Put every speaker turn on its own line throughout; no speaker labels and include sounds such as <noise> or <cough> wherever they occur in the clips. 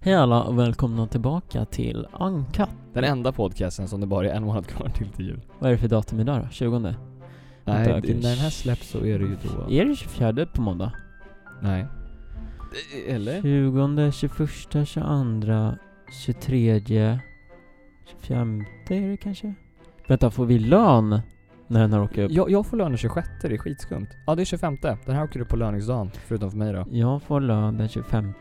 Hej alla och välkomna tillbaka till Anka.
Den enda podcasten som det bara är en månad kvar till till jul.
Vad är det för datum idag då? 20?
Nej,
Vänta, okej.
det, när den här släpps så är det ju då...
Är det 24 på måndag?
Nej. Eller?
20, 21, 22, 23, 25 är det kanske? Vänta, får vi lön när den här åker upp?
Jag, jag får lön den 26, det är skitskumt. Ja, det är 25. Den här åker upp på löningsdagen, förutom för mig då.
Jag får lön den 25.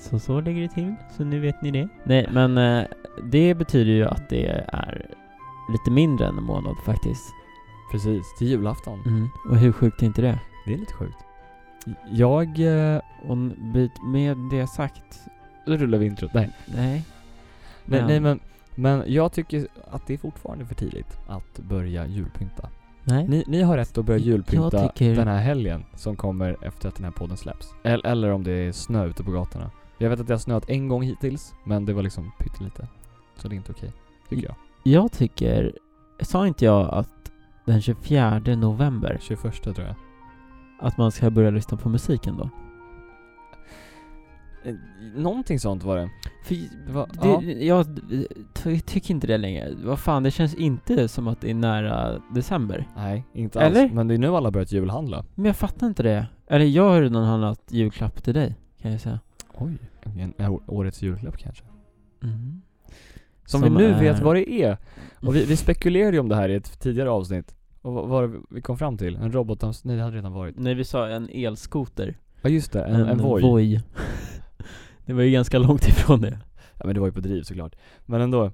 Så så ligger det till, så nu vet ni det. Nej, men eh, det betyder ju att det är lite mindre än en månad faktiskt.
Precis, till julafton.
Mm. Och hur sjukt är inte det?
Det är lite sjukt. Jag... eh,
Och byt- med det sagt,
Nu rullar vi introt. Nej.
nej.
Nej,
Men-
nej men, men jag tycker att det är fortfarande för tidigt att börja julpynta.
Nej.
Ni, ni har rätt att börja
Jag
julpynta
tycker-
den här helgen som kommer efter att den här podden släpps. Eller, eller om det är snö ute på gatorna. Jag vet att det har snöat en gång hittills, men det var liksom pyttelite. Så det är inte okej, tycker jag.
Jag tycker, sa inte jag att den 24 november,
21 tror jag.
att man ska börja lyssna på musiken då?
Eh, Någonting sånt var det. Va,
Det,
ja.
Jag ty- tycker inte det längre. Vad fan, det känns inte som att det är nära december.
Nej, inte alls.
Eller?
Men det är nu alla börjat julhandla.
Men jag fattar inte det. Eller jag har redan handlat julklapp till dig, kan jag säga.
Oj. En, en, årets julklapp kanske.
Mm.
Som, vi nu
är-
vet vad det är.
<laughs>
Och vi, vi spekulerade ju om det här i ett tidigare avsnitt. Och vad vad var det vi kom fram till? En robotdammsugare? Nej, det hade redan varit.
Nej, vi sa en elskoter.
Ja just det, en, en, Voi. <laughs>
det var ju ganska långt ifrån det.
Ja men det var ju på driv såklart. Men ändå.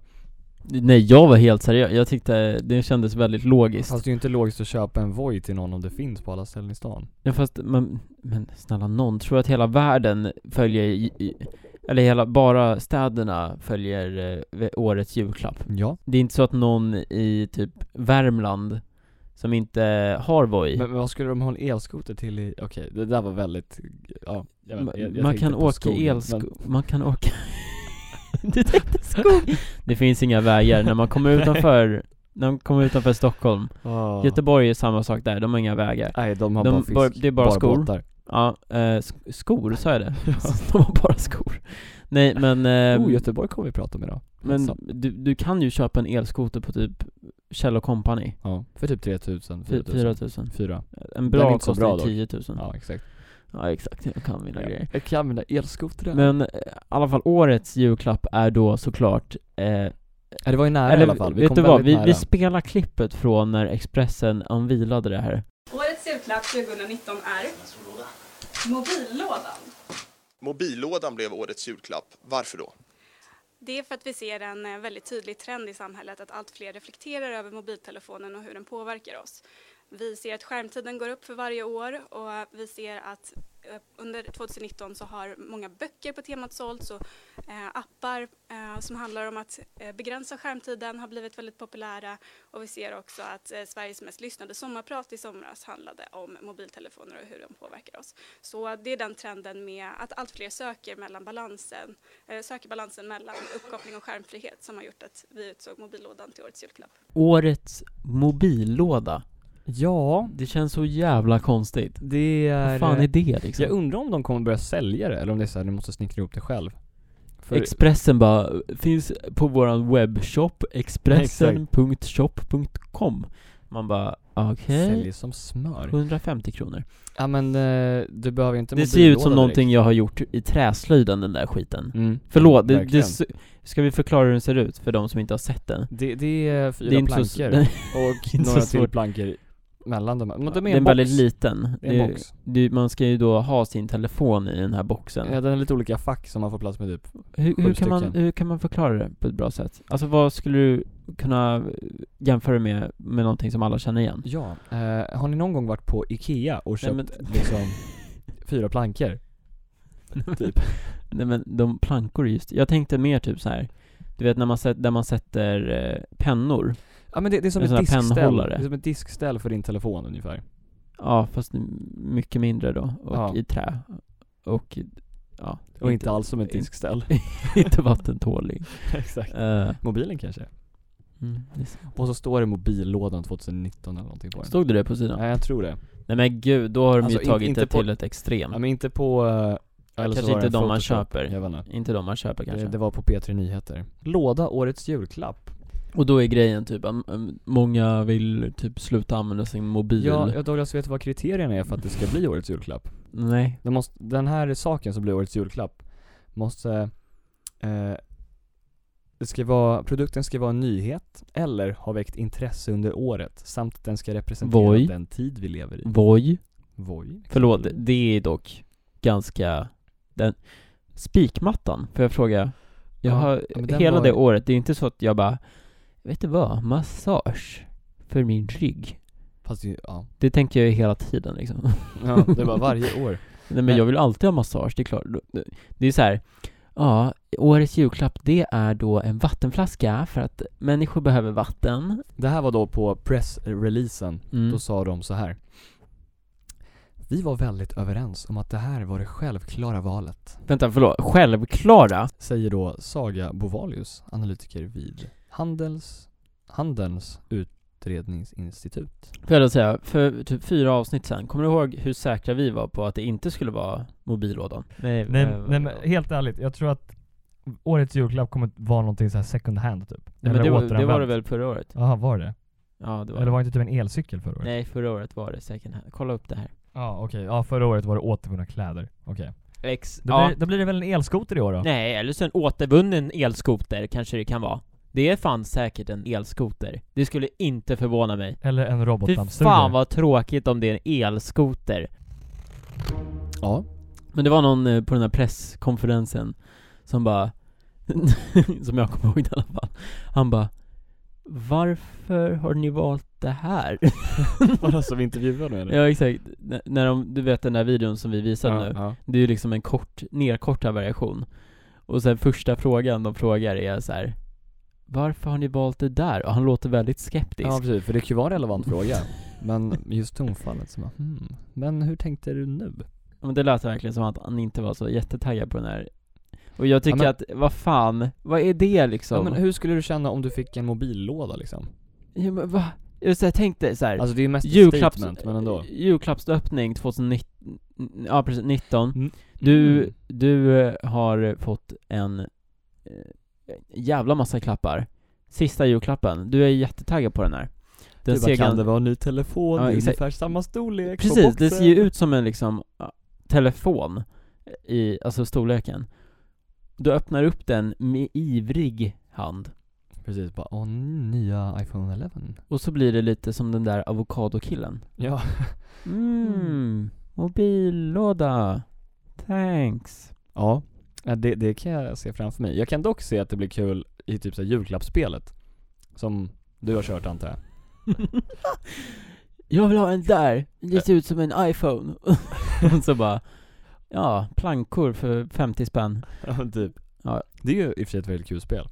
Nej, jag var helt seriös. Jag tyckte det kändes väldigt logiskt.
Fast det är ju inte logiskt att köpa en Voi till någon om det finns på alla ställen i stan.
Ja fast, men, men snälla någon tror att hela världen följer, i- i- eller hela, bara städerna följer eh, ve- årets julklapp?
Ja.
Det är inte så att någon i typ Värmland, som inte har Voi,
Men, men vad skulle de ha en elskoter till i, okej det där var väldigt, ja. Jag vet,
ma-
jag, jag
man,
tänkte
kan
på
åka
skogen,
elsko- man kan åka <laughs> Du tänkte skog! Det finns inga vägar, när man kommer
Nej.
utanför, när man kommer utanför Stockholm,
Men, Åh.
Göteborg är samma sak där, de har inga vägar
Ah. Nej de har
De
bara fisk,
bara- det är bara skor.
båtar.
Ja, eh, sk- skor, sa
<laughs>
jag det? De har bara skor Nej men, eh,
oh, Göteborg kommer vi prata om idag.
men
Så.
du, du kan ju köpa en elskoter på typ Kjell Company
Ja, för typ 3000, 4000.
4000
Fyra.
En
Den är
bra
inte så
kostar
bra
10 000 ja.
Ja exakt.
exakt, jag kan mina grejer
Jag kan använda elskotrar.
Men eh, i alla fall årets julklapp är då såklart eh,
Ja, det var ju nära i alla fall. Vi
vet
kom
du vad?
väldigt
Vi,
nära.
vi spelar klippet från när Expressen anvilade det här
Årets julklapp 2019 är mobillådan.
Mobillådan blev årets julklapp. Varför då?
Det är för att vi ser en eh, väldigt tydlig trend i samhället att allt fler reflekterar över mobiltelefonen och hur den påverkar oss. Vi ser att skärmtiden går upp för varje år och eh, vi ser att eh, under 2019 så har många böcker på temat sålts och eh, appar eh, som handlar om att eh, begränsa skärmtiden har blivit väldigt populära och vi ser också att eh, Sveriges mest lyssnade sommarprat i somras handlade om mobiltelefoner och hur de påverkar oss. Så det är den trenden med att allt fler söker, mellan balansen, eh, söker balansen mellan uppkoppling och skärmfrihet som har gjort att vi utsåg mobillådan till årets julklapp.
Årets mobillåda
Ja,
Det känns så jävla konstigt
det är...
Vad fan är det liksom?
Jag undrar om de kommer börja sälja det, eller om det är såhär, du måste snickra ihop det själv. För
Expressen bara, finns på våran webbshop, expressen.shop.com Man bara, okej,
säljer som smör.
150 kronor
Ja men eh, du behöver ju inte
Det ser ut
mobillåda
som
direkt.
någonting jag har gjort i träslöjden den där skiten
Mm.
Förlåt, det, det,
Verkligen.
s- ska vi förklara hur den ser ut för de som inte har sett den?
Det, det är
<laughs>
fyra
det är
plankor
så,
<laughs>
s-
och
inte så
några till
svårt.
plankor mellan dem. Men de
den
är
är
en box.
väldigt liten
Det är en
Det-
box.
det- Man ska ju då ha sin telefon i den här boxen
Ja, den är lite olika fack som man får plats med typ.
hur, hur,
sju
kan man,
stycken.
hur kan man förklara det på ett bra sätt? Alltså vad skulle du kunna jämföra med, med någonting som alla känner igen?
Ja. Eh, har ni någon gång varit på Ikea och köpt
men-
liksom fyra plankor? typ.
Nej men de plankor just, jag tänkte mer typ så här. Du vet när man, sätt, där man sätter eh, pennor
Ja men det, det är som
En
ett
sån här
diskställ. Det
pennhållare.
är som ett diskställ för din telefon ungefär.
Ja fast m- mycket mindre då, och
Ja.
i trä Och, i- ja
Och inte alls som ett
inte-
diskställ. <laughs>
<laughs> Inte vattentålig
Exakt.
Eh,
Mobilen kanske?
mm, det är sant.
Och så står det mobillådan 2019 eller någonting på den.
Stod det det på sidan?
Nej jag tror det.
Nej men gud, då har de
Alltså,
ju
in-
tagit
inte
det
på-
till ett
Ja,
extremt
men inte på eh, Eller så
Kanske
var det
inte
en
de man
Photoshop.
köper.
Jag vet inte.
Inte de man köper kanske.
Det, det var på P3 Nyheter. Låda Årets Julklapp.
Och då är grejen typ att mm, många vill typ sluta använda sin mobil.
Ja, jag Douglas vet vad kriterierna är för att det ska bli Årets Julklapp.
Nej.
Den, måste, den här saken som blir Årets Julklapp måste... Eh, det ska vara, produkten ska vara en nyhet eller ha väckt intresse under året samt att den ska representera
Voi.
den tid vi lever i.
Voi.
Voi.
Förlåt, det är dock ganska... Den... Spikmattan, får jag fråga? Jag
Ja,
har
ja, men den
hela
var-
det året, det är inte så att jag bara Vet du vad? Massage för min rygg.
Fast det, <laughs> ja.
Det tänker jag ju hela tiden liksom. <laughs>
ja, det var varje år.
Nej men
Men-
jag vill alltid ha massage, det är klart. Det är så här, ja, årets julklapp det är då en vattenflaska för att människor behöver vatten.
Det här var då på pressreleasen
Mm.
Då sa de så här. Vi var väldigt överens om att det här var det självklara valet,
Vänta, förlåt, självklara?
säger då Saga Bovalius, analytiker vid Handels, Handelns utredningsinstitut.
Får jag då säga, för typ fyra avsnitt sen, kommer du ihåg hur säkra vi var på att det inte skulle vara mobillådan? Nej,
Nej, nej men helt ärligt, jag tror att årets julklapp kommer vara någonting så här second hand typ.
Nej, men
Eller
det, var, det
återanvänt.
var det väl förra året?
Jaha, var det?
Ja, det var
Eller
det.
var det inte typ en elcykel förra året?
Nej, förra året var det second hand. Kolla upp det här.
Ja okej, ja förra året var det återvunna kläder. Okej.
Ex,
Då,
ja.
blir, då blir det väl en elskoter i år då?
Nej, eller så en återvunnen elskoter kanske det kan vara. Det fanns säkert en elskoter. Det skulle inte förvåna mig.
Eller en
Fy
robotdammsugare?
fan vad tråkigt om det är en elskoter.
Ja,
Men det var någon eh, på den här presskonferensen som bara, <laughs> som jag kommer ihåg i alla fall, han bara Varför har ni valt det
<laughs>
här?
var det som intervjuade nu eller?
ja exakt, N- när de, du vet den där videon som vi visade nu,
ja.
det är ju liksom en kort, nerkortad variation. Och sen första frågan de frågar är så här. Varför har ni valt det där? Och han låter väldigt skeptisk.
ja, precis, för det kan ju vara
<laughs>
en relevant fråga. Men just tonfallet som bara, hmm, men hur tänkte du nu?
Men det lät verkligen som att han inte var så jättetaggad på den här Och jag tycker
Ja, men-
att, vad fan, vad är det liksom?
Ja, men hur skulle du känna om du fick en mobillåda liksom?
Ja, men va? Jag så här, tänkte såhär,
Alltså det är ju mest ett
julklapps-
statement, men
Eh,
ändå.
julklappsöppning 2019, ja precis, 19
Mm.
Du,
Mm.
du eh, har fått en eh, jävla massa klappar Sista julklappen, du är jättetaggad på den här Den
du bara, kan
gan-
det vara en ny telefon
Ja,
i
exakt.
ungefär samma storlek på
Precis, det ser ju
boxen?"
ut som en liksom ja, telefon i, alltså storleken. Du öppnar upp den med ivrig hand
Precis, bara åh, nya iPhone 11
och så blir det lite som den där avokadokillen.
Ja,
Mm, mobillåda. Thanks.
ja Ja, det, det kan jag se framför mig. Jag kan dock se att det blir kul i typ så här julklappsspelet Som du har kört antar jag
<laughs> Jag vill ha en där, det ser ut som en iPhone. och <laughs> så bara, ja, plankor för 50 spänn.
Ja, typ
Ja.
Det är ju i och för sig ett väldigt kul spel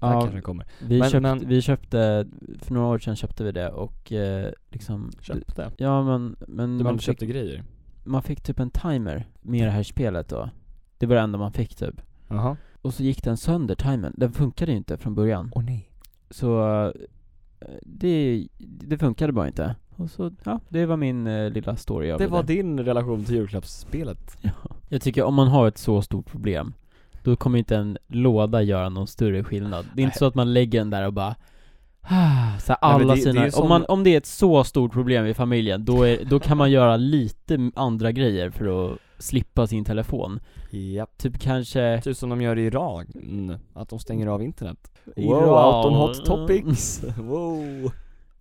Det här
Ja,
kanske kommer
vi,
men-
köpt,
men-
vi köpte, för några år sedan köpte vi det och eh, liksom
Köpte
Ja men, men
Du
man,
man
fick,
köpte grejer
man fick typ en timer med det här spelet då Det var det enda man fick typ
Jaha
Och så gick den sönder, timern, den funkade ju inte från början
Åh nej
Så eh, det, det funkade bara inte Och så, ja, det var min eh, lilla story av
Det
det
var
där.
din relation till julklappsspelet
Ja. Jag tycker om man har ett så stort problem Då kommer inte en låda göra någon större skillnad Det är inte så att man lägger den där och bara ah, så här
Nej, men
alla
det- det är
sina,
ju sån-
om, man, om det är ett så stort problem i familjen, då, är, då kan man göra lite andra grejer för att slippa sin telefon
Japp
Typ kanske
Typ som de gör i Iran, att de stänger av internet
Iran.
Wow, out on hot topics! <laughs> wow!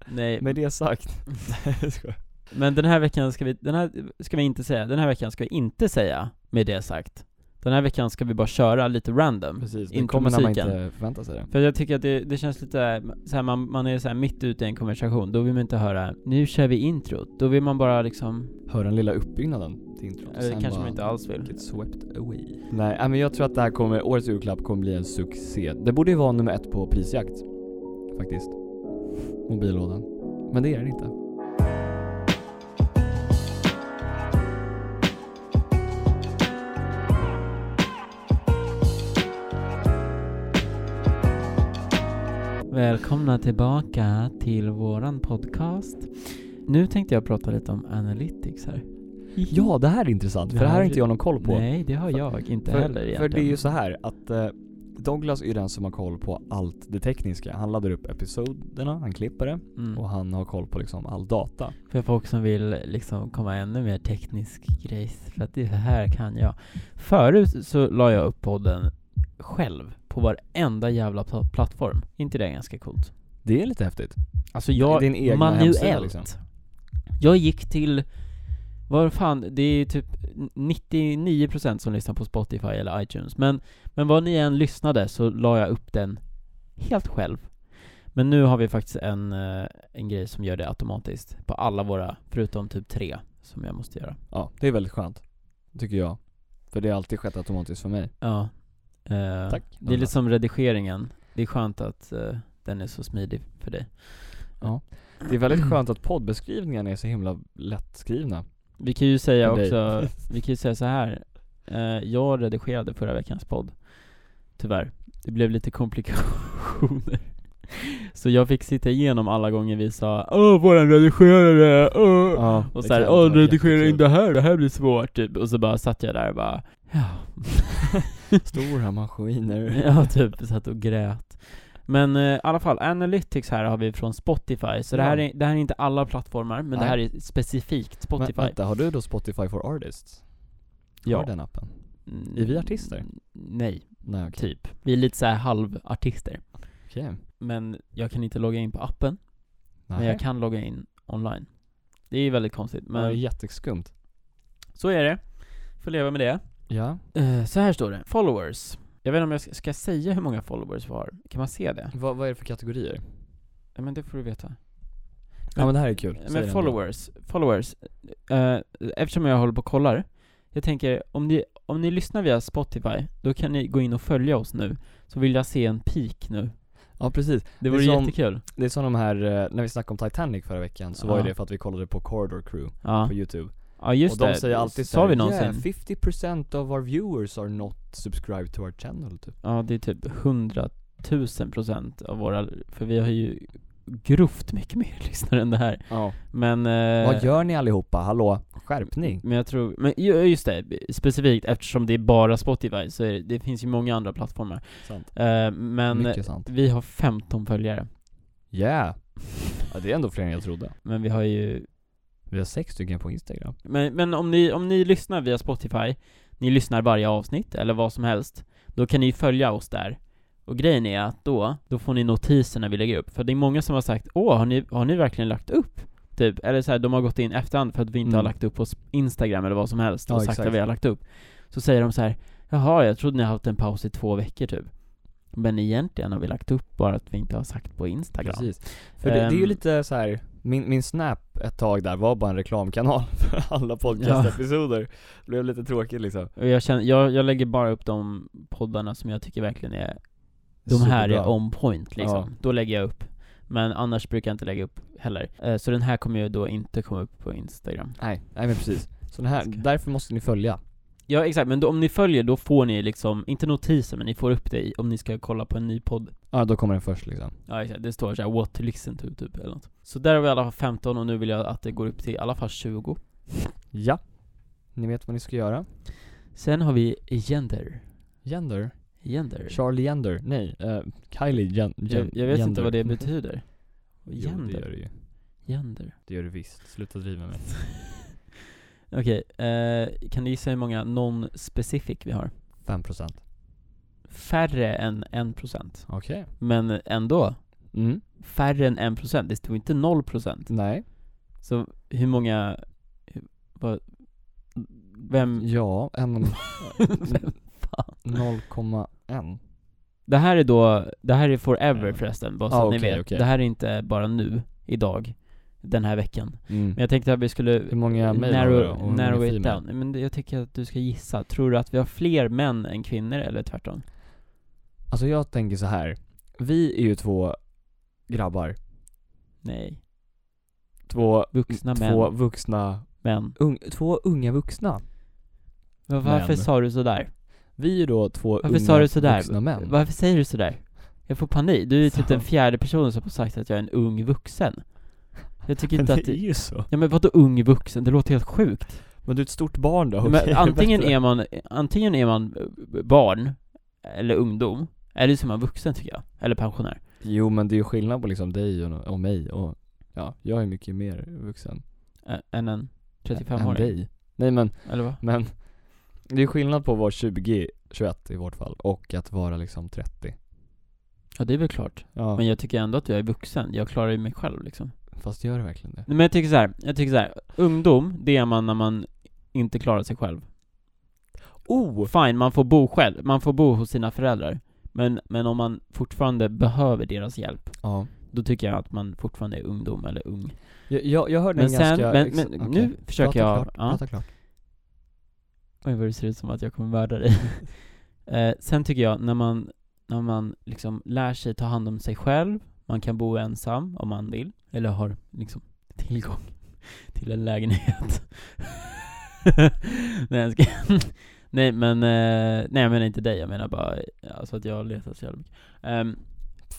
Nej,
Med det sagt <laughs> Nej, skojar.
men den här veckan ska vi, den här ska vi inte säga, den här veckan ska vi inte säga med det sagt Den här veckan ska vi bara köra lite random
Precis, den
Inte
kommer när man
musiken.
inte förväntar sig det
För jag tycker att det, det känns lite så här, man, man är så här mitt ute i en konversation, då vill man inte höra Nu kör vi introt, då vill man bara liksom,
Hör den lilla uppbyggnaden till introt och
eller det
sen
kanske
bara
man inte alls vill
Get swept away Nej, äh, men jag tror att det här kommer, årets julklapp kommer bli en succé Det borde ju vara nummer ett på prisjakt Faktiskt Mobillådan Men det är den inte
Välkomna tillbaka till våran podcast Nu tänkte jag prata lite om analytics här
Ja, det här är intressant, för det här har inte jag någon koll på.
Nej, det har jag inte
för,
heller egentligen.
För det är ju så här att eh, Douglas är ju den som har koll på allt det tekniska. Han laddar upp episoderna, han klipper det
Mm.
och han har koll på liksom all data.
För folk som vill liksom komma ännu mer teknisk grejs, för att det här kan jag. Förut så la jag upp podden själv på varenda jävla pl- plattform. inte det ganska coolt?
Det är lite häftigt.
Alltså jag,
Din egna hemsida,
manuellt.
liksom.
Jag gick till, vad fan, det är typ 99% som lyssnar på Spotify eller iTunes. Men, men vad ni än lyssnade så la jag upp den helt själv. Men nu har vi faktiskt en, eh, en grej som gör det automatiskt på alla våra, förutom typ tre som jag måste göra.
Ja, det är väldigt skönt. Tycker jag. För det har alltid skett automatiskt för mig.
Ja. Eh,
Tack,
Det är
Douglas.
lite som redigeringen. Det är skönt att eh, den är så smidig för dig.
Det är väldigt skönt att poddbeskrivningarna är så himla lättskrivna.
Vi kan ju säga
För dig.
också, vi kan ju säga så här. Eh, jag redigerade förra veckans podd. Tyvärr. Det blev lite komplikationer. <laughs> Så jag fick sitta igenom alla gånger vi sa Åh, våran redigerare, åh.
<laughs> Ja,
Och
det
såhär,
kan vara
åh redigera
jättekul.
in det här, det här blir svårt typ. Och så bara satt jag där och bara,
<laughs>
ja.
Stora <laughs> maskiner.
Ja, typ satt och grät. Men eh, i alla fall, Analytics här har vi från Spotify, så det, här
Ja.
är, det här är inte alla plattformar, men det
Nej.
här är specifikt
Men,
Spotify.
vänta, har du då Spotify for Artists?
Ja.
Har den appen?
Mm,
Är vi artister?
Nej,
Nej okej.
typ. Vi är lite så här halvartister.
Okej.
Men jag kan inte logga in på appen,
Nej.
men jag kan logga in online. Det är väldigt konstigt,
Men...
men
Ja, jätteskumt.
så är det. Får leva med det.
Ja.
Eh, så här står det, followers. Jag vet inte om jag ska, ska jag säga hur många followers vi har? Kan man se det?
Vad, vad är det för kategorier?
Ja, men det får du veta.
Ja men det här är kul. Säg
Men
den
followers, followers. Eh, eftersom jag håller på och kollar, jag tänker om ni, om ni lyssnar via Spotify, då kan ni gå in och följa oss nu. Så vill jag se en peak nu.
då. Ja precis.
Det vore
som-
jättekul.
Det är som de här, eh, när vi snackade om Titanic förra veckan så var ju
Ja.
det för att vi kollade på Corridor Crew
Ja,
på youtube.
ja just
och de
det.
säger alltid
Sa vi
såhär,
någonsin?
Yeah, 50% of our viewers are not subscribed to our channel typ.
Ja, det är typ 100 000 procent av våra, för vi har ju grovt mycket mer <laughs> lyssnare än det här.
Ja.
Men... eh,
Vad gör ni allihopa? Hallå? Skärpning.
Men jag tror, men ju- just det, specifikt eftersom det är bara Spotify så är det, det finns ju många andra plattformar.
Sant.
Eh, men
Mycket sant.
vi har 15 följare. <laughs>
Yeah. Ja det är ändå fler än jag trodde.
Men vi har ju
Vi har sex stycken på instagram.
Men, men om, ni, om ni lyssnar via Spotify Ni lyssnar varje avsnitt eller vad som helst Då kan ni följa oss där Och grejen är att då, då får ni notiser när vi lägger upp För det är många som har sagt Åh, har ni, har ni verkligen lagt upp? Typ, eller så här, de har gått in efterhand för att vi inte
Mm.
har lagt upp på s- Instagram eller vad som helst och
Ja,
sagt
exakt.
att vi har lagt upp Så säger de så här Jaha, jag trodde ni har haft en paus i två veckor typ Men egentligen har vi lagt upp bara att vi inte har sagt på Instagram
Precis. För det, det är ju
Ehm.
lite så här. Min, min snap ett tag där var bara en reklamkanal <laughs> för alla podcastepisoder. Det blev lite tråkigt liksom.
Och jag, känner, jag, jag lägger bara upp de poddarna som jag tycker verkligen är De här är
Superbra.
on point liksom.
Ja.
Då lägger jag upp. Men annars brukar jag inte lägga upp heller. Eh, Så den här kommer ju då inte komma upp på Instagram.
Nej, nej men precis. Så den här,
Ska-
därför måste ni följa.
Ja exakt, men då, om ni följer då får ni liksom, inte notiser men ni får upp det i, om ni ska kolla på en ny podd.
Ja, då kommer den först liksom.
Ja exakt, det står såhär 'What to listen to' typ eller något. Så där har vi i alla fall 15 och nu vill jag att det går upp till i alla fall 20.
Ja. Ni vet vad ni ska göra?
Sen har vi Gender.
Gender?
Gender.
Charlie Gender? Nej, eh, Kylie Gen- Gen-
Jag, jag vet inte
Gender.
vad det <laughs> betyder.
jo, det gör
Gender.
det ju.
Gender.
Det gör det visst. Sluta driva med mig.
Okej, eh, kan du gissa hur många non-specific vi har?
5%.
färre än 1%.
Okej.
Men ändå,
Mm.
färre än 1%. Det stod inte 0%.
Nej.
Så hur många... hur- Vad, vem... <laughs>
Ja, en...
vem fan?
0,1.
Det här är då, det här är forever
Ja.
förresten, bara så
Ah,
att ni
okej,
vet.
okej.
Det här är inte bara nu, idag, den här veckan.
Mm.
Men jag tänkte att vi skulle
Hur många mejl har du då? Och hur
narrow,
många
narrow it
female?
down. Men det- jag tycker att du ska gissa. Tror du att vi har fler män än kvinnor eller tvärtom?
Alltså jag tänker så här. Vi är ju två grabbar.
Nej.
Två,
Vuxna
två
män.
vuxna,
män.
ung, två unga vuxna.
Men Varför
Män.
sa du sådär?
Vi är ju då två
Varför
unga
sa du sådär?
vuxna män.
Varför säger du sådär? Jag får panik. Du är typ
Så.
den fjärde personen som har sagt att jag är en ung vuxen. Jag tycker
Men
inte <laughs>
det
att...
är
Det...
ju så.
Ja men vadå ung vuxen? Det låter helt sjukt.
Men du är ett stort barn då?
<laughs>
okej,
Men
<laughs>
antingen
bättre.
är man, antingen är man eh, barn, eller ungdom, eller så är man vuxen tycker jag, eller pensionär.
Jo men det är ju skillnad på liksom dig och, och mig och, ja, jag är mycket mer vuxen
Ä- Än en
än
35-åring.
dig Nej men,
Eller vad?
men Det är skillnad på att vara 20, 21 i vårt fall och att vara liksom 30
Ja det är väl klart.
Ja,
Men jag tycker ändå att jag är vuxen, jag klarar ju mig själv liksom.
fast gör det verkligen det?
Nej, Men jag tycker så här, jag tycker så här. ungdom, det är man när man inte klarar sig själv. Oh! Fine, man får bo själv, man får bo hos sina föräldrar. Men, men om man fortfarande behöver deras hjälp,
Ja
då tycker jag att man fortfarande är ungdom eller ung.
Jag, jag, jag hörde
Men
en
sen,
ganska...
men,
ex-
men
okej.
nu försöker
prata
jag...
Klart,
ja.
Prata klart.
Oj vad det ser ut som att jag kommer mörda dig. eh, sen tycker jag, när man, när man liksom lär sig ta hand om sig själv, man kan bo ensam om man vill, eller har liksom tillgång <laughs> till en lägenhet. <laughs> nej, jag skojar. <laughs> nej men, eh, nej jag menar inte dig, jag menar bara, alltså att jag letar så jävla mycket. Ehm,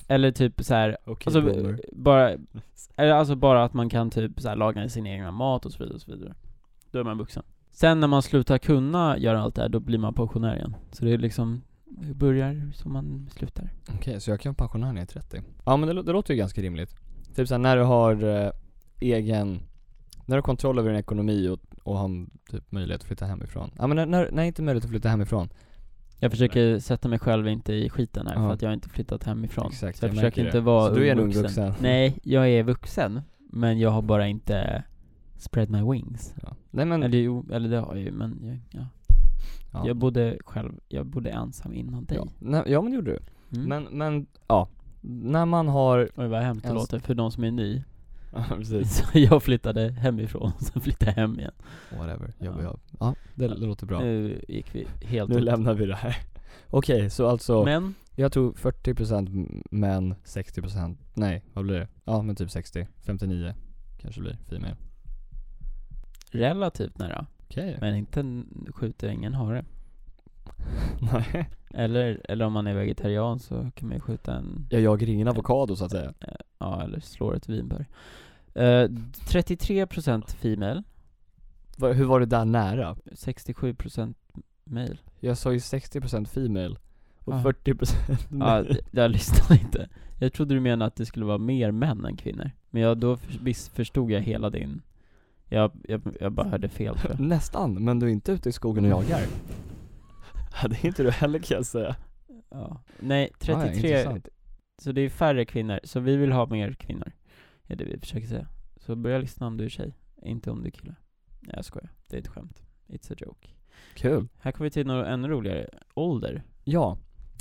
eller typ så här,
Okej
alltså,
boomer.
bara, eller alltså bara att man kan typ så här laga sin egna mat och så vidare och så vidare. Då är man vuxen. Sen när man slutar kunna göra allt det här, då blir man pensionär igen. Så det är liksom, det börjar som man slutar.
Okej, så jag kan vara pensionär när jag är 30? Ja men det, lå- det låter ju ganska rimligt. Typ såhär när du har eh, egen, när du har kontroll över din ekonomi och, och har en, typ möjlighet att flytta hemifrån. Ja men när, när, när inte möjlighet att flytta hemifrån.
Jag försöker sätta mig själv inte i skiten här, för
Ja.
att jag har inte flyttat hemifrån.
Exakt,
så jag,
jag
försöker
märker
inte
det.
vara
Så du är en ung vuxen.
Nej, jag är vuxen. Men jag har bara inte spread my wings.
Ja. Nej men,
Eller jo, eller det har jag ju, men jag, ja.
ja.
jag bodde själv, jag bodde ensam innan dig.
ja. Nej, ja men det gjorde du.
Mm.
Men, men, ja. När man har, <laughs>
Oj vad hemskt det
Ens-
låter för de som är ny. <laughs>
ja precis.
Så jag flyttade hemifrån, sen flyttade jag hem igen.
Whatever, jag
Ja.
ja. Ja, det, det låter bra. Nu,
Nu gick vi helt åt-
lämnar vi det här. <laughs> Okej, så alltså.
Men,
Jag tror 40% män, 60% nej vad blir det? Ja men typ 60, 59 kanske blir female.
relativt nära.
Okej.
Men inte n- skjuter ingen hare.
<laughs> Nej.
Eller, eller om man är vegetarian så kan man ju skjuta en,
Jag jagar ingen avokado så att säga.
ja eller slår ett vinbär. Eh, 33% female,
Va- hur var det där nära?
67% male.
Jag sa ju 60% female och
Ah.
40% male.
Ja, d- jag lyssnade inte. Jag trodde du menade att det skulle vara mer män än kvinnor. Men jag, då för, visst förstod jag hela din, jag, jag, jag bara hörde fel tror jag.
Nästan, men du är inte ute i skogen
<laughs>
och jagar. Ja, det är inte du heller kan jag säga.
Ja. Nej,
Ah, Ja,
33,
intressant.
så det är färre kvinnor, så vi vill ha mer kvinnor. Det är det vi försöker säga. Så börja lyssna om du är tjej, inte om du är kille. Nej jag skojar, det är ett skämt. It's a joke.
Kul.
Här kommer vi till något ännu roligare, ålder.
Ja.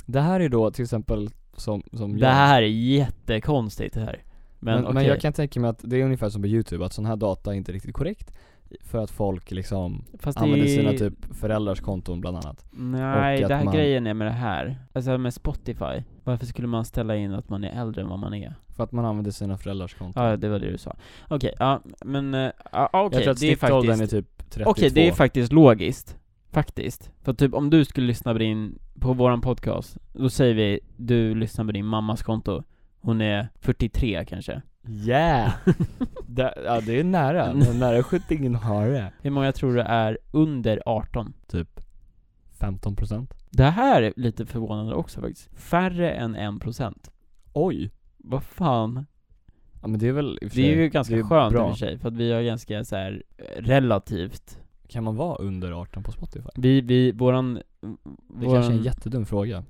Det här är då till exempel som, som
Det
jag-
här är jättekonstigt det här. Men,
Mm, Men,
okej.
men, jag kan tänka mig att det är ungefär som på youtube, att sån här data är inte riktigt korrekt För att folk liksom
Fast det
använder sina
är-
typ föräldrars konton bland annat
Nej,
Och
det
att
här
man-
grejen är med det här. Alltså med Spotify, varför skulle man ställa in att man är äldre än vad man är?
För att man använder sina föräldrars konton
Ja, det var det du sa. Okej, ja, men, eh, ja, okej,
Jag tror att
det är
snittåldern
faktiskt...
är typ 32
Okej, det är faktiskt logiskt. Faktiskt. För typ om du skulle lyssna på din, på våran podcast, då säger vi, du lyssnar på din mammas konto. Hon är 43 kanske. <laughs>
Yeah! det, ja det är nära,
Mm.
men nära skjutingen har det
Hur många tror du är under 18?
Typ 15%
Det här är lite förvånande också faktiskt. Färre än 1%.
Oj!
Vad fan?
Ja men det är väl i och för
Det är
sig-
ju ganska
det är
skönt i
bra.
och för sig, för att vi har ganska så här eh, relativt,
Kan man vara under 18 på Spotify?
vi, vi, våran...
Det kanske är en jättedum fråga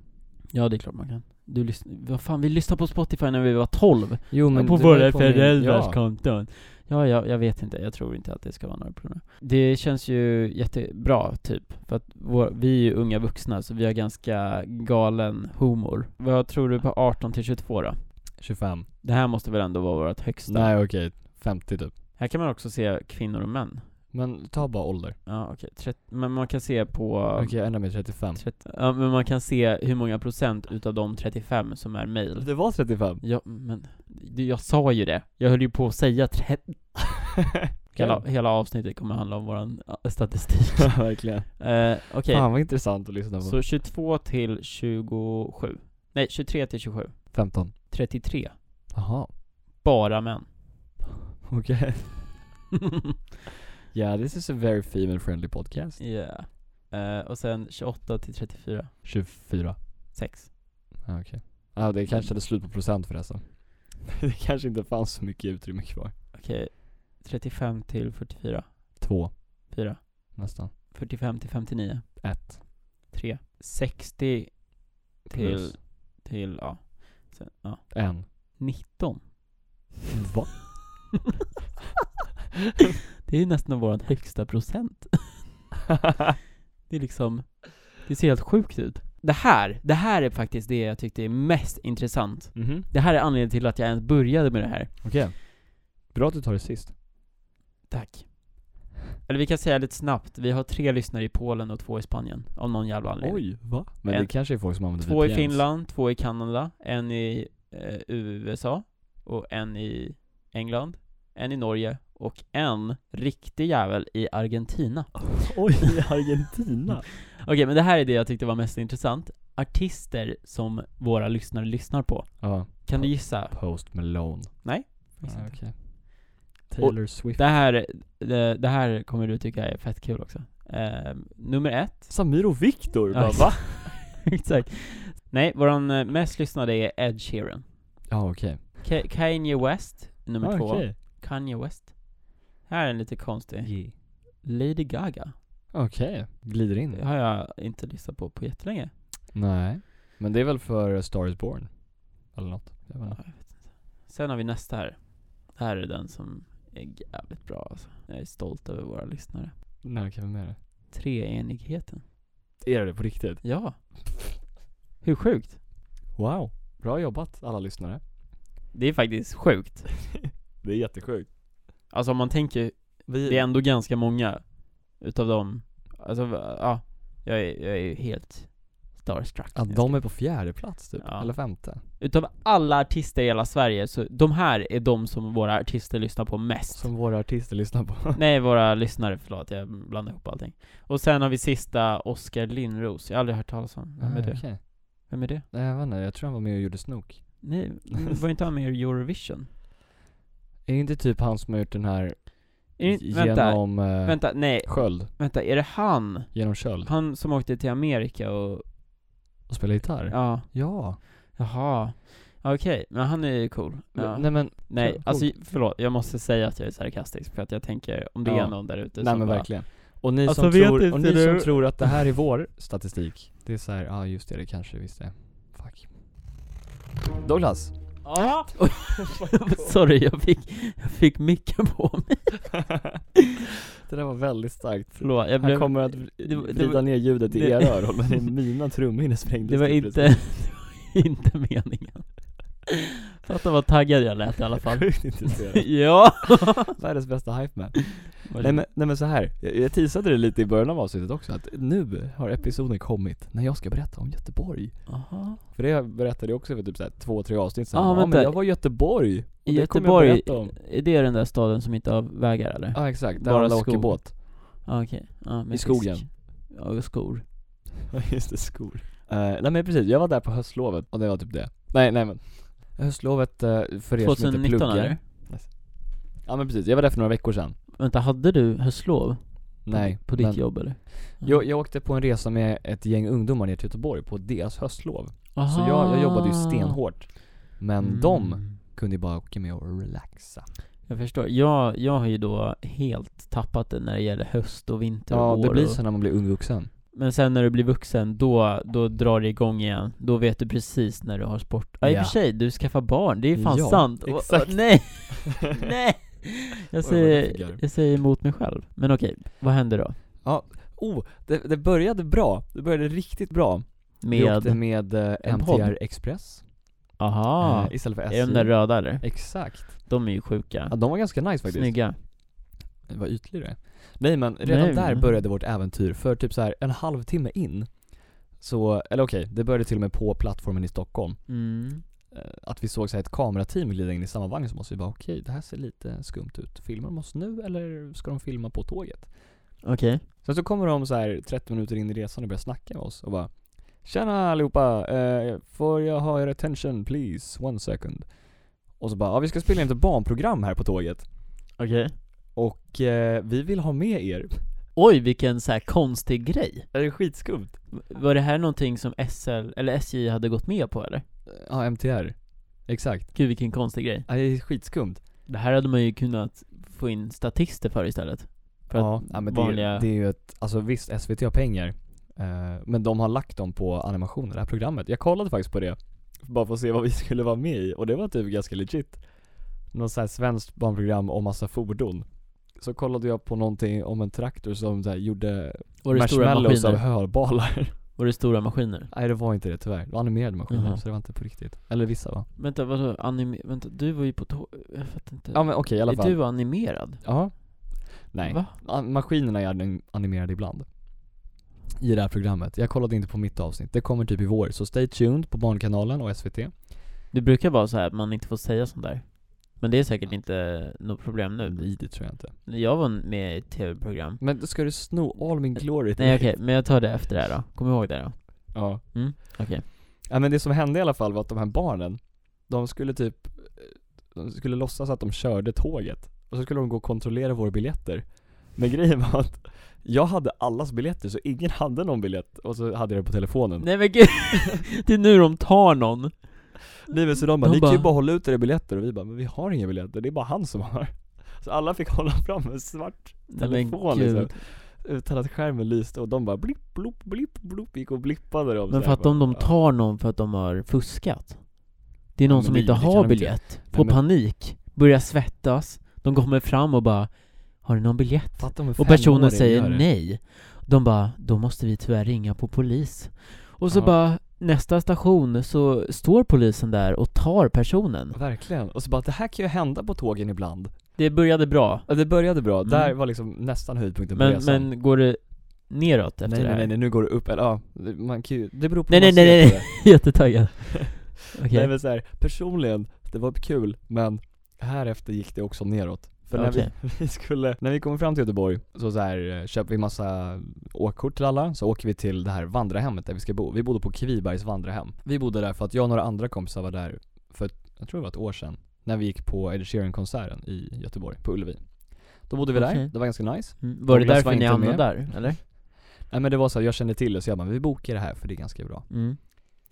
Ja det är klart man kan. Du lyssnar, vad fan vi lyssnade på Spotify när vi var 12.
Jo
på
det
våra
beror på min-
föräldrars
ja.
konton. Ja, ja, jag vet inte, jag tror inte att det ska vara några problem. Det känns ju jättebra typ, för att vår, vi är ju unga vuxna så vi har ganska galen humor. Vad tror du på 18 till 22 då?
25
Det här måste väl ändå vara vårt högsta?
Nej okej, 50 typ
Här kan man också se kvinnor och män.
Men ta bara ålder
Ja okej, Trett- men man kan se på...
Okej jag ändrar mig till 35
Trett- Ja, men man kan se hur många procent utav de 35 som är mail.
Det var <laughs> 35
Ja, men det- jag sa ju det. Jag höll ju på att säga 30.
<laughs>
Hela, hela avsnittet kommer handla om våran ja, statistik.
Verkligen
eh, Okej,
Fan vad intressant att lyssna på
så 22 till 27. Nej, 23 till 27.
15
33.
Jaha,
Bara män.
okej <laughs>
Okej,
Yeah, this is a very female friendly
<laughs>
podcast.
Yeah. Eh, och sen 28 till 34,
24.
6.
Ah, okej. Ah, det kanske hade slut på procent förresten. <laughs> det kanske inte fanns så mycket utrymme kvar.
Okej, 35 till 44,
Två,
4.
nästan.
45 till 59,
Ett.
3. 60
Plus
till, till ja. Sen, ja.
en.
19.
Va?
<laughs> Det är ju nästan vår högsta procent. Det är liksom, det ser helt sjukt ut. Det här, det här är faktiskt det jag tyckte är mest intressant.
Mhm.
Det här är anledningen till att jag ens började med det här.
Okej. Bra att du tar det sist.
Tack. Eller vi kan säga lite snabbt, vi har tre lyssnare i Polen och två i Spanien, av någon jävla anledning.
Oj, va? Men
En-
det kanske är folk som använder
Två i
VPNs.
Finland, två i Kanada, en i eh, USA och en i England, en i Norge och en riktig jävel i Argentina.
<laughs> Oj, i Argentina?
<laughs> Okej, men det här är det jag tyckte var mest intressant. Artister som våra lyssnare lyssnar på.
Ja,
Kan du gissa?
Post Malone.
Gissa
Ah,
inte.
okej. Taylor Swift.
Det här, det, det här kommer du tycka är fett kul också. Eh, nummer ett. <laughs>
Samir och
Ja,
Viktor, bara va?
Exakt. Nej, våran eh, mest lyssnade är Ed Sheeran.
Ja, Ah, okej.
Ka- Kanye West, nummer
Ah,
två.
okej.
Kanye West. Här är en lite konstig. Lady Gaga.
Okej, glider in.
Det har jag inte lyssnat på på jättelänge.
Nej, men det är väl för A Star is Born? Eller något. Jag vet
Ja,
inte.
jag vet inte. Sen har vi nästa här. Det här är den som är jävligt bra alltså. Jag är stolt över våra lyssnare.
Nej, okej, vem är det?
Treenigheten.
Är det på riktigt?
Ja. Hur sjukt?
Wow. Bra jobbat
<laughs>
alla lyssnare.
Det är faktiskt sjukt.
Det är jättesjukt.
Alltså om man tänker,
Vi...
det är ändå ganska många utav dem. Alltså, ja. Jag är, jag är ju helt starstruck.
Ja, de är på fjärde plats typ,
Ja.
eller femte.
Utav alla artister i hela Sverige, så de här är de som våra artister lyssnar på mest.
Som våra artister lyssnar på.
<laughs> Nej, våra lyssnare, förlåt, jag blandade ihop allting. Och sen har vi sista, Oskar Lindros. Jag har aldrig hört talas om. Vem är
Ah,
det?
okej.
Vem är det?
Nej, jag vet inte, jag tror han var med och gjorde Snook.
Nej,
<laughs>
var inte han med i Eurovision?
Är det inte typ han som har gjort den här
Är det, inte- vänta,
genom eh,
vänta, nej,
sköld?
vänta, är det han?
Genom köld?
Han som åkte till Amerika och,
Och spela gitarr?
ja,
Ja.
jaha. Ja, Okej, men han är ju cool. Ja.
Nej men,
Nej,
coolt.
alltså förlåt, jag måste säga att jag är sarkastisk för att jag tänker om det
Ja.
är någon där ute
nej
som
men
bara,
verkligen. Och ni,
Alltså,
som,
vet
tror,
inte
och ni som
du.
tror att det här är vår statistik, det är så här, ja ah, just det, det kanske visst är. Fuck. Douglas!
Ja! <laughs> Sorry, jag fick, jag fick micken på mig.
det där var väldigt starkt.
Förlåt, jag
Han
blev...
kommer att
det var- det
vrida
var-
ner ljudet i
det-
era öron, men mina trumhinnor sprängdes
Det var
typ
inte, <laughs> det var inte meningen. Fatta vad taggad jag lät i alla
<laughs>
fall.
Sjukt
<laughs>
intresserad.
ja!
Världens bästa hype man. Nej men, nej men så här. Jag, jag teasade det lite i början av avsnittet också att nu har episoden kommit när jag ska berätta om Göteborg.
Aha.
För det berättade jag också för typ så här två, tre avsnitt sedan.
Ah,
Ja men,
vänta.
jag var i Göteborg.
I
det kommer jag
Göteborg,
berätta om.
är det den där staden som inte har vägar eller?
Ja exakt, där
Bara
alla åker
skog.
båt.
Ah, okej. Ja, med
I skogen.
fisk. Ja, och skor.
Ja just det, skor. Eh, nej men precis, jag var där på höstlovet och det var typ det. Nej nej men. Höstlovet eh, för er som inte
2019
pluggar.
eller?
Ja men precis, jag var där för några veckor sedan.
Vänta, hade du höstlov? på-
Nej.
På ditt
men-
jobb eller?
Jag, jag åkte på en resa med ett gäng ungdomar ner till Göteborg på deras höstlov. Så jag, jag jobbade ju
Aha.
stenhårt. Men
Ah. Mm.
de kunde ju bara åka med och relaxa.
Jag förstår. Jag, jag har ju då helt tappat det när det gäller höst och vinter
Ja,
och vår
det blir
och...
så när man blir ung vuxen.
Men sen när du blir vuxen, då, då drar det igång igen. Då vet du precis när du har sport. Ja, i och
Ja.
för sig, du skaffar barn. Det är fan
Ja,
sant. Och- och-
exakt. <laughs>
nej! nej! Jag
Oj, vad det
säger,
figgar.
jag säger emot mig själv. Men okej, vad hände då?
Oh, det, det började bra. Det började riktigt bra. Vi åkte
Med...
med eh,
en podd.
MTR Express.
Aha.
eh, istället för SJ.
är de där röda eller?
Exakt.
De är ju sjuka.
Ja, de var ganska nice faktiskt.
Snygga.
Vad ytlig du är. Nej men redan
Nej,
där
men-
började vårt äventyr, för typ så här en halvtimme in så, eller okej, det började till och med på plattformen i Stockholm.
Mm.
eh, att vi såg så här ett kamerateam glida in i samma vagn som oss. Vi bara okej, det här ser lite skumt ut. Filmar de oss nu eller ska de filma på tåget?
Okej.
Sen så kommer de så här 30 minuter in i resan och börjar snacka med oss och bara Tjena allihopa, eh, får jag ha er attention please, one second? Och så bara, ja vi ska spela in ett barnprogram här på tåget.
Okej.
Och eh, vi vill ha med er.
Oj, vilken så här konstig grej.
Det är skitskumt.
Var det här någonting som SL, eller SJ hade gått med på eller?
Ja, MTR. Exakt.
Gud vilken konstig grej.
Ja, det är skitskumt.
Det här hade man ju kunnat få in statister för istället. För
ja,
att
ja, men det,
vanliga...
är- det är ju ett, alltså visst SVT har pengar, eh, men de har lagt dem på animationer, det här programmet. Jag kollade faktiskt på det, bara för att se vad vi <laughs> skulle vara med i, och det var typ ganska legit. Något sånt här svenskt barnprogram om massa fordon. Så kollade jag på någonting om en traktor som så här gjorde
var det stora
marshmallows av
maskiner? <laughs>
hörbalar. <laughs>
Var det stora maskiner?
Nej det var inte det tyvärr, det var animerade maskiner
Jaha.
så det var inte på riktigt. Eller vissa va?
Vänta, vadå? Anime... Vänta, du var ju på tå... Jag fattar inte.
Ja men okej i alla
Är
fall.
du animerad?
Ja. Nej.
Va?
Ma- maskinerna är anim- animerade ibland. I det här programmet. Jag kollade inte på mitt avsnitt. Det kommer typ i vår. Så stay tuned på Barnkanalen och SVT.
Det brukar vara så här att man inte får säga sånt där. Men det är säkert inte något problem nu.
Nej, det tror jag inte.
Jag var med i ett tv-program.
Men då ska du sno all min glory till
Eh, Nej
mig.
okej, men jag tar det efter det här då. Kom ihåg det då.
Ja.
Mm, okej.
ja. men det som hände i alla fall var att de här barnen, de skulle typ, de skulle låtsas att de körde tåget. Och så skulle de gå och kontrollera våra biljetter. Men grejen var att jag hade allas biljetter så ingen hade någon biljett. Och så hade jag det på telefonen.
Nej men gud! <laughs> det är nu de tar någon.
Nej men så de bara,
De
ni kan ju
bara-
bara hålla ut era biljetter och vi bara, men vi har inga biljetter, det är bara han som har Så alla fick hålla fram en svart
Nej men
telefon
gud.
liksom, utan att skärmen lyste och de bara blipp, blopp, blipp, blopp, gick och blippade dem
Men
så
för
här,
att om de
bara,
tar någon för att de har fuskat Det är
Ja,
någon
men
som
det-
inte
det kan
har
de inte-
biljett, får
men-
panik, börjar svettas De kommer fram och bara 'Har du någon biljett?'
ja. Fatta om en
Och personen
femåring
säger
gör det.
nej De bara 'Då måste vi tyvärr ringa på polis' Och så
Ja.
bara nästa station så står polisen där och tar personen
Verkligen, och så bara det här kan ju hända på tågen ibland
Det började bra,
ja, Det började bra,
Mm.
där var liksom nästan höjden på
men,
resan
men går det neråt efter
nej,
det här?
nej nej nej, nu går det upp, eller ja, det- man kan ju, det beror på
Nej, nej,
hur man
nej,
ser
nej,
på
<laughs>
det.
Jättetaggad Okej,
<laughs> Nej men såhär, personligen, det var kul men här efter gick det också neråt. För när,
Okej.
vi, vi skulle, när vi kom fram till Göteborg så, så här, eh, köper vi massa åkkort till alla, så åker vi till det här vandrarhemmet där vi ska bo. Vi bodde på Kvibergs vandrarhem. Vi bodde där för att jag och några andra kompisar var där för, ett- jag tror det var ett år sedan, när vi gick på Ed Sheeran-konserten i Göteborg, på Ullevi. Då bodde vi där,
Okej.
det var ganska nice.
Mm, var det
Douglas var
därför ni
inte med.
hamnade där, eller?
Nej men det var så här, jag kände till det så jag bara, vi bokar det här för det är ganska bra.
Mm.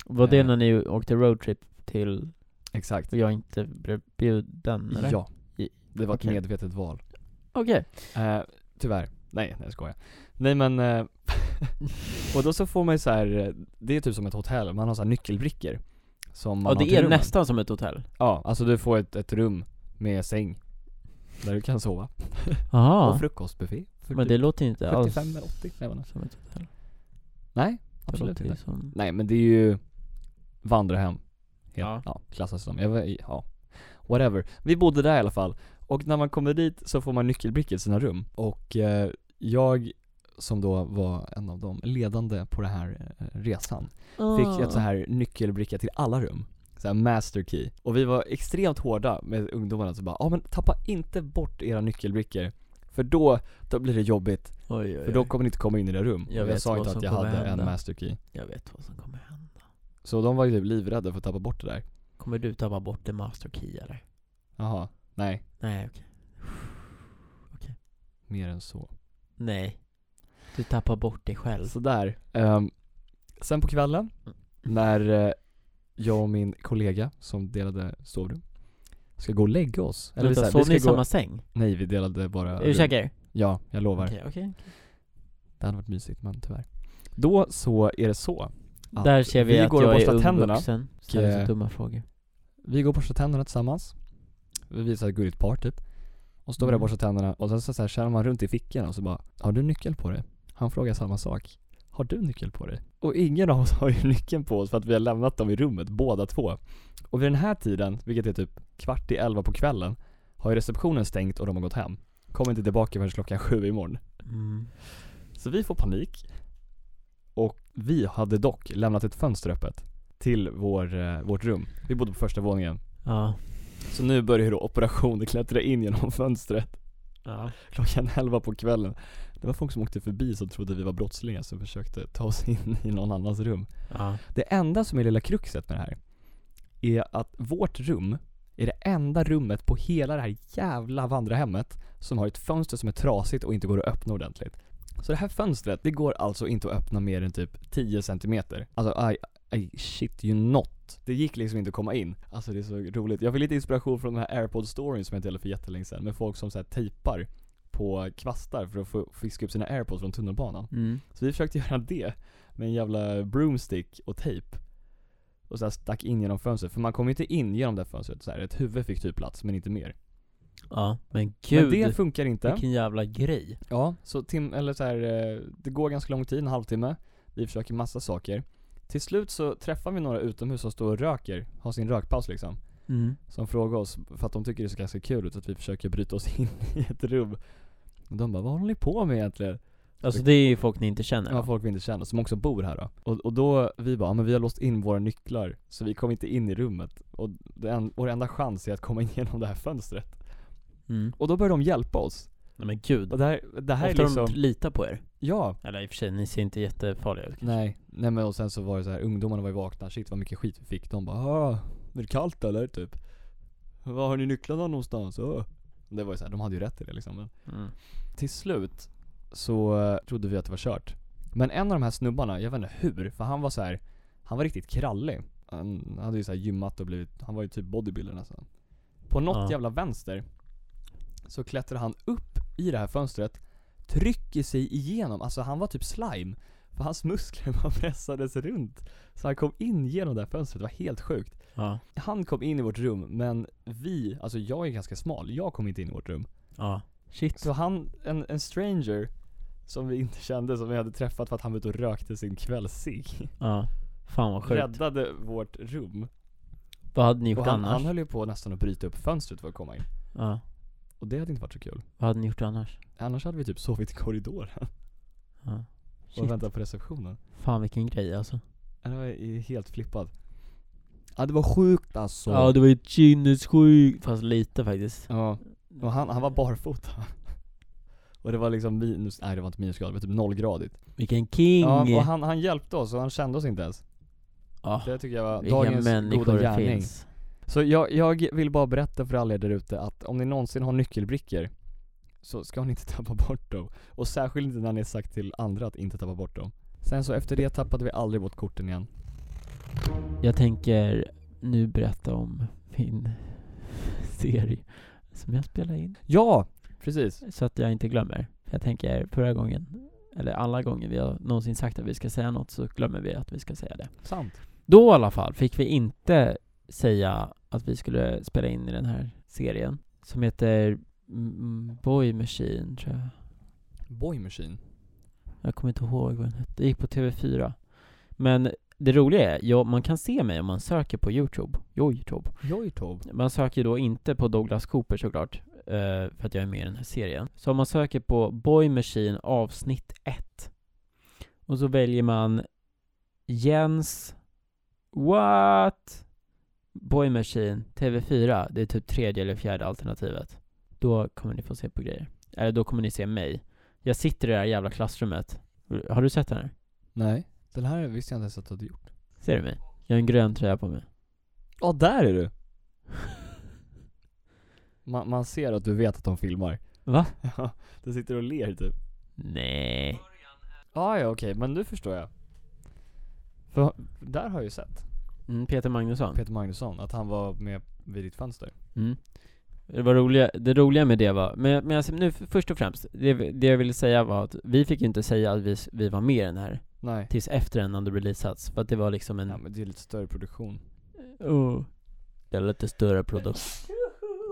Var det
Eh.
när ni åkte roadtrip till,
Exakt.
och jag inte blev bjuden eller?
Ja.
I-
Det var
okej.
ett medvetet val.
Okej.
Eh, tyvärr. Nej, nej jag skojar. Nej men, eh, <laughs> och då så får man ju så här, eh, det är typ som ett hotell, man har så här nyckelbrickor. Som man
Ja
har till
det är
rummen.
nästan som ett hotell.
Ja, alltså du får ett, ett rum med säng. Där du kan sova. Och
Jaha.
frukostbuffé. för
Men
typ
det låter inte
75
alls
eller 80, jag vet inte.
som ett hotell.
Nej,
Det
absolut
låter ju
inte.
som...
Nej men det är ju vandrarhem.
Ja.
Ja. ja, klassas som. Jag, var- ja. Whatever. Vi bodde där i alla fall. Och när man kommer dit så får man nyckelbrickor i sina rum. Och eh, jag, som då var en av de ledande på den här eh, resan, fick
Ah.
ett så här nyckelbricka till alla rum. Så här master key. Och vi var extremt hårda med ungdomarna så bara, ja ah, men tappa inte bort era nyckelbrickor. För då, då blir det jobbigt.
Oj, oj,
För då
oj.
kommer ni inte komma in i era rum.
Jag
Och
vet
jag sa
vad
inte
som
att jag
kommer
hade en
hända.
master key.
Jag vet vad som kommer hända.
Så de var ju typ livrädda för att tappa bort det där.
Kommer du tappa bort the master key eller?
Jaha, nej.
Nej okej.
Mer än så.
Nej. Du tappar bort dig själv.
Sådär. Um, sen på kvällen,
Mm.
när eh, jag och min kollega som delade sovrum ska gå och lägga oss.
Eller
så
Vänta,
här,
sov
ska
ni i
gå-
samma säng?
Nej, vi delade bara
Är du
rum.
säker?
Ja, jag lovar.
Okej, okej.
Det hade varit mysigt men tyvärr. Då så är det så. att
Där ser vi,
vi
att
går och
jag är
borstar
ung
tänderna.
vuxen. Ställer så
eh,
dumma frågor.
Vi går och borstar tänderna tillsammans. Vi visar ett gulligt par typ. Och står där och
Mm.
borstar tänderna och sen så, så här, känner man runt i fickorna och så bara Har du nyckel på dig? Han frågar samma sak. Har du nyckel på dig? Och ingen av oss <laughs> har ju nyckeln på oss för att vi har lämnat dem i rummet båda två. Och vid den här tiden, vilket är typ kvart i elva på kvällen, har ju receptionen stängt och de har gått hem. Kommer inte tillbaka förrän klockan sju imorgon.
Mm.
Så vi får panik. Och vi hade dock lämnat ett fönster öppet till vår, eh, vårt rum. Vi bodde på första våningen.
Ja.
Så nu börjar ju då operationen klättra in genom <laughs> fönstret
Ja.
klockan 11 på kvällen. Det var folk som åkte förbi som trodde vi var brottslingar som försökte ta oss in i någon annans rum.
Ja.
Det enda som är lilla kruxet med det här är att vårt rum i det enda rummet på hela det här jävla vandrarhemmet som har ett fönster som är trasigt och inte går att öppna ordentligt. Så det här fönstret, det går alltså inte att öppna mer än typ 10 centimeter. Alltså I, I shit you not. Det gick liksom inte att komma in. Alltså det är så roligt. Jag fick lite inspiration från den här airpod-storyn som jag delade för jättelänge sedan med folk som så här tejpar på kvastar för att få fiska upp sina airpods från tunnelbanan.
Mm.
Så vi försökte <laughs> göra det med en jävla broomstick och tejp. Och så här stack in genom fönstret, för man kom inte in genom det här fönstret så här. Ett huvud fick typ plats, men inte mer.
Ja, men
Men
gud.
det funkar inte.
vilken jävla grej.
Ja, så tim, eller så här, eh, det går ganska lång tid, en halvtimme. Vi försöker massa saker. Till slut så träffar vi några utomhus som står och röker, har sin rökpaus liksom.
Mm.
Som frågar oss, för att de tycker det ser ganska kul ut att vi försöker bryta oss <laughs> in i ett rum. Och de bara 'Vad håller ni på med egentligen?'
Alltså det är ju folk ni inte känner.
Ja, folk vi inte känner, som också bor här då. Och, och då, vi bara "Ja, men vi har låst in våra nycklar, så vi kom inte in i rummet. Och den, vår enda chans är att komma in <laughs> genom det här fönstret.
Mm.
Och då börjar de hjälpa oss.
Nej men gud.
Och det här, det här är
Ofta
liksom,
de litar på er.
ja,
Eller i och för sig, ni ser inte jättefarliga ut.
Nej, nej men och sen så var det så här, ungdomarna var ju vakna, shit vad mycket skit vi fick. De bara ah, är det kallt eller? Typ. Var har ni nycklarna någonstans? Ah. Det var ju så här, de hade ju rätt i det liksom. Men
Mm.
till slut så eh, trodde vi att det var kört. Men en av de här snubbarna, jag vet inte hur, för han var så här, han var riktigt krallig. Han hade ju så här gymmat och blivit, han var ju typ bodybuilder nästan. På något
Ja.
jävla vänster så klättrade han upp i det här fönstret, trycker sig igenom, alltså han var typ slime. För hans muskler <laughs> bara pressades runt. Så han kom in genom det här fönstret, det var helt sjukt.
Ja.
Han kom in i vårt rum, men vi, alltså jag är ganska smal, jag kom inte in i vårt rum.
Ja. Shit.
Så han, en, en stranger som vi inte kände, som vi hade träffat för att han var ute och rökte sin kvällscigg.
Ja. Fan vad sjukt.
Räddade vårt rum.
Vad hade ni
Och
gjort
han,
annars?
han höll ju på nästan att bryta upp fönstret för att komma in.
Ja.
Och det hade inte varit så kul.
Vad hade ni gjort annars?
Annars hade vi typ sovit i korridoren
Ja. Shit.
och väntat på receptionen.
Fan vilken grej alltså.
Ja, Det var ju helt flippad. Ja det var sjukt alltså.
Ja det var ju sinnessjukt. Fast lite faktiskt.
Ja, och han, han var barfota. Och det var liksom minus, nej det var inte minusgrader, det var typ nollgradigt.
Vilken king!
Ja, och han, han hjälpte oss och han kände oss inte ens.
Ja.
Det tycker jag var
Vilka
dagens
människor
goda
det
gärning.
finns.
Så jag, jag vill bara berätta för alla er där ute att om ni någonsin har nyckelbrickor så ska ni inte <laughs> tappa bort dem. Och särskilt inte när ni har sagt till andra att inte tappa bort dem. Sen så efter det tappade vi aldrig bort korten igen.
Jag tänker nu berätta om min <laughs> serie som jag spelar in.
Ja! Precis.
Så att jag inte glömmer. Jag tänker förra gången, eller alla gånger vi har någonsin sagt att vi ska säga något så glömmer vi att vi ska säga det.
Sant.
Då i alla fall fick vi inte säga att vi skulle spela in i den här serien som heter mm, Boy Machine tror jag.
Boy Machine.
Jag kommer inte ihåg vad den hette. Det gick på TV4. Men det roliga är, ja, man kan se mig om man söker på Youtube. Youtube.
Jojtob.
Man söker då inte på Douglas Cooper såklart, eh, för att jag är med i den här serien. Så om man söker på Boy Machine avsnitt 1 och så väljer man Jens What? Boy Machine TV4, det är typ tredje eller fjärde alternativet. Då kommer ni få se på grejer. Eller då kommer ni se mig. Jag sitter i det här jävla klassrummet. Har du sett den här?
Nej. Den här visste jag inte ens att du hade gjort.
Ser du mig? Jag har en grön tröja på mig.
Ja, där är du! <laughs> Man, man ser att du vet att de filmar.
Va?
<laughs> Ja, du sitter och ler typ.
Nej.
Ah, ja, okej, men nu förstår jag. För där har jag ju sett
Mm, Peter Magnusson.
Peter Magnusson, att han var med vid ditt fönster.
Mm. Det, var roliga, det roliga med det var, men, men alltså, nu f- först och främst, det, det jag ville säga var att vi fick ju inte säga att vi, s- vi var med i den här
Nej.
tills efter den hade releasats, för att det var liksom en...
Ja, men det är lite större produktion.
Oh. Det är lite större produkt.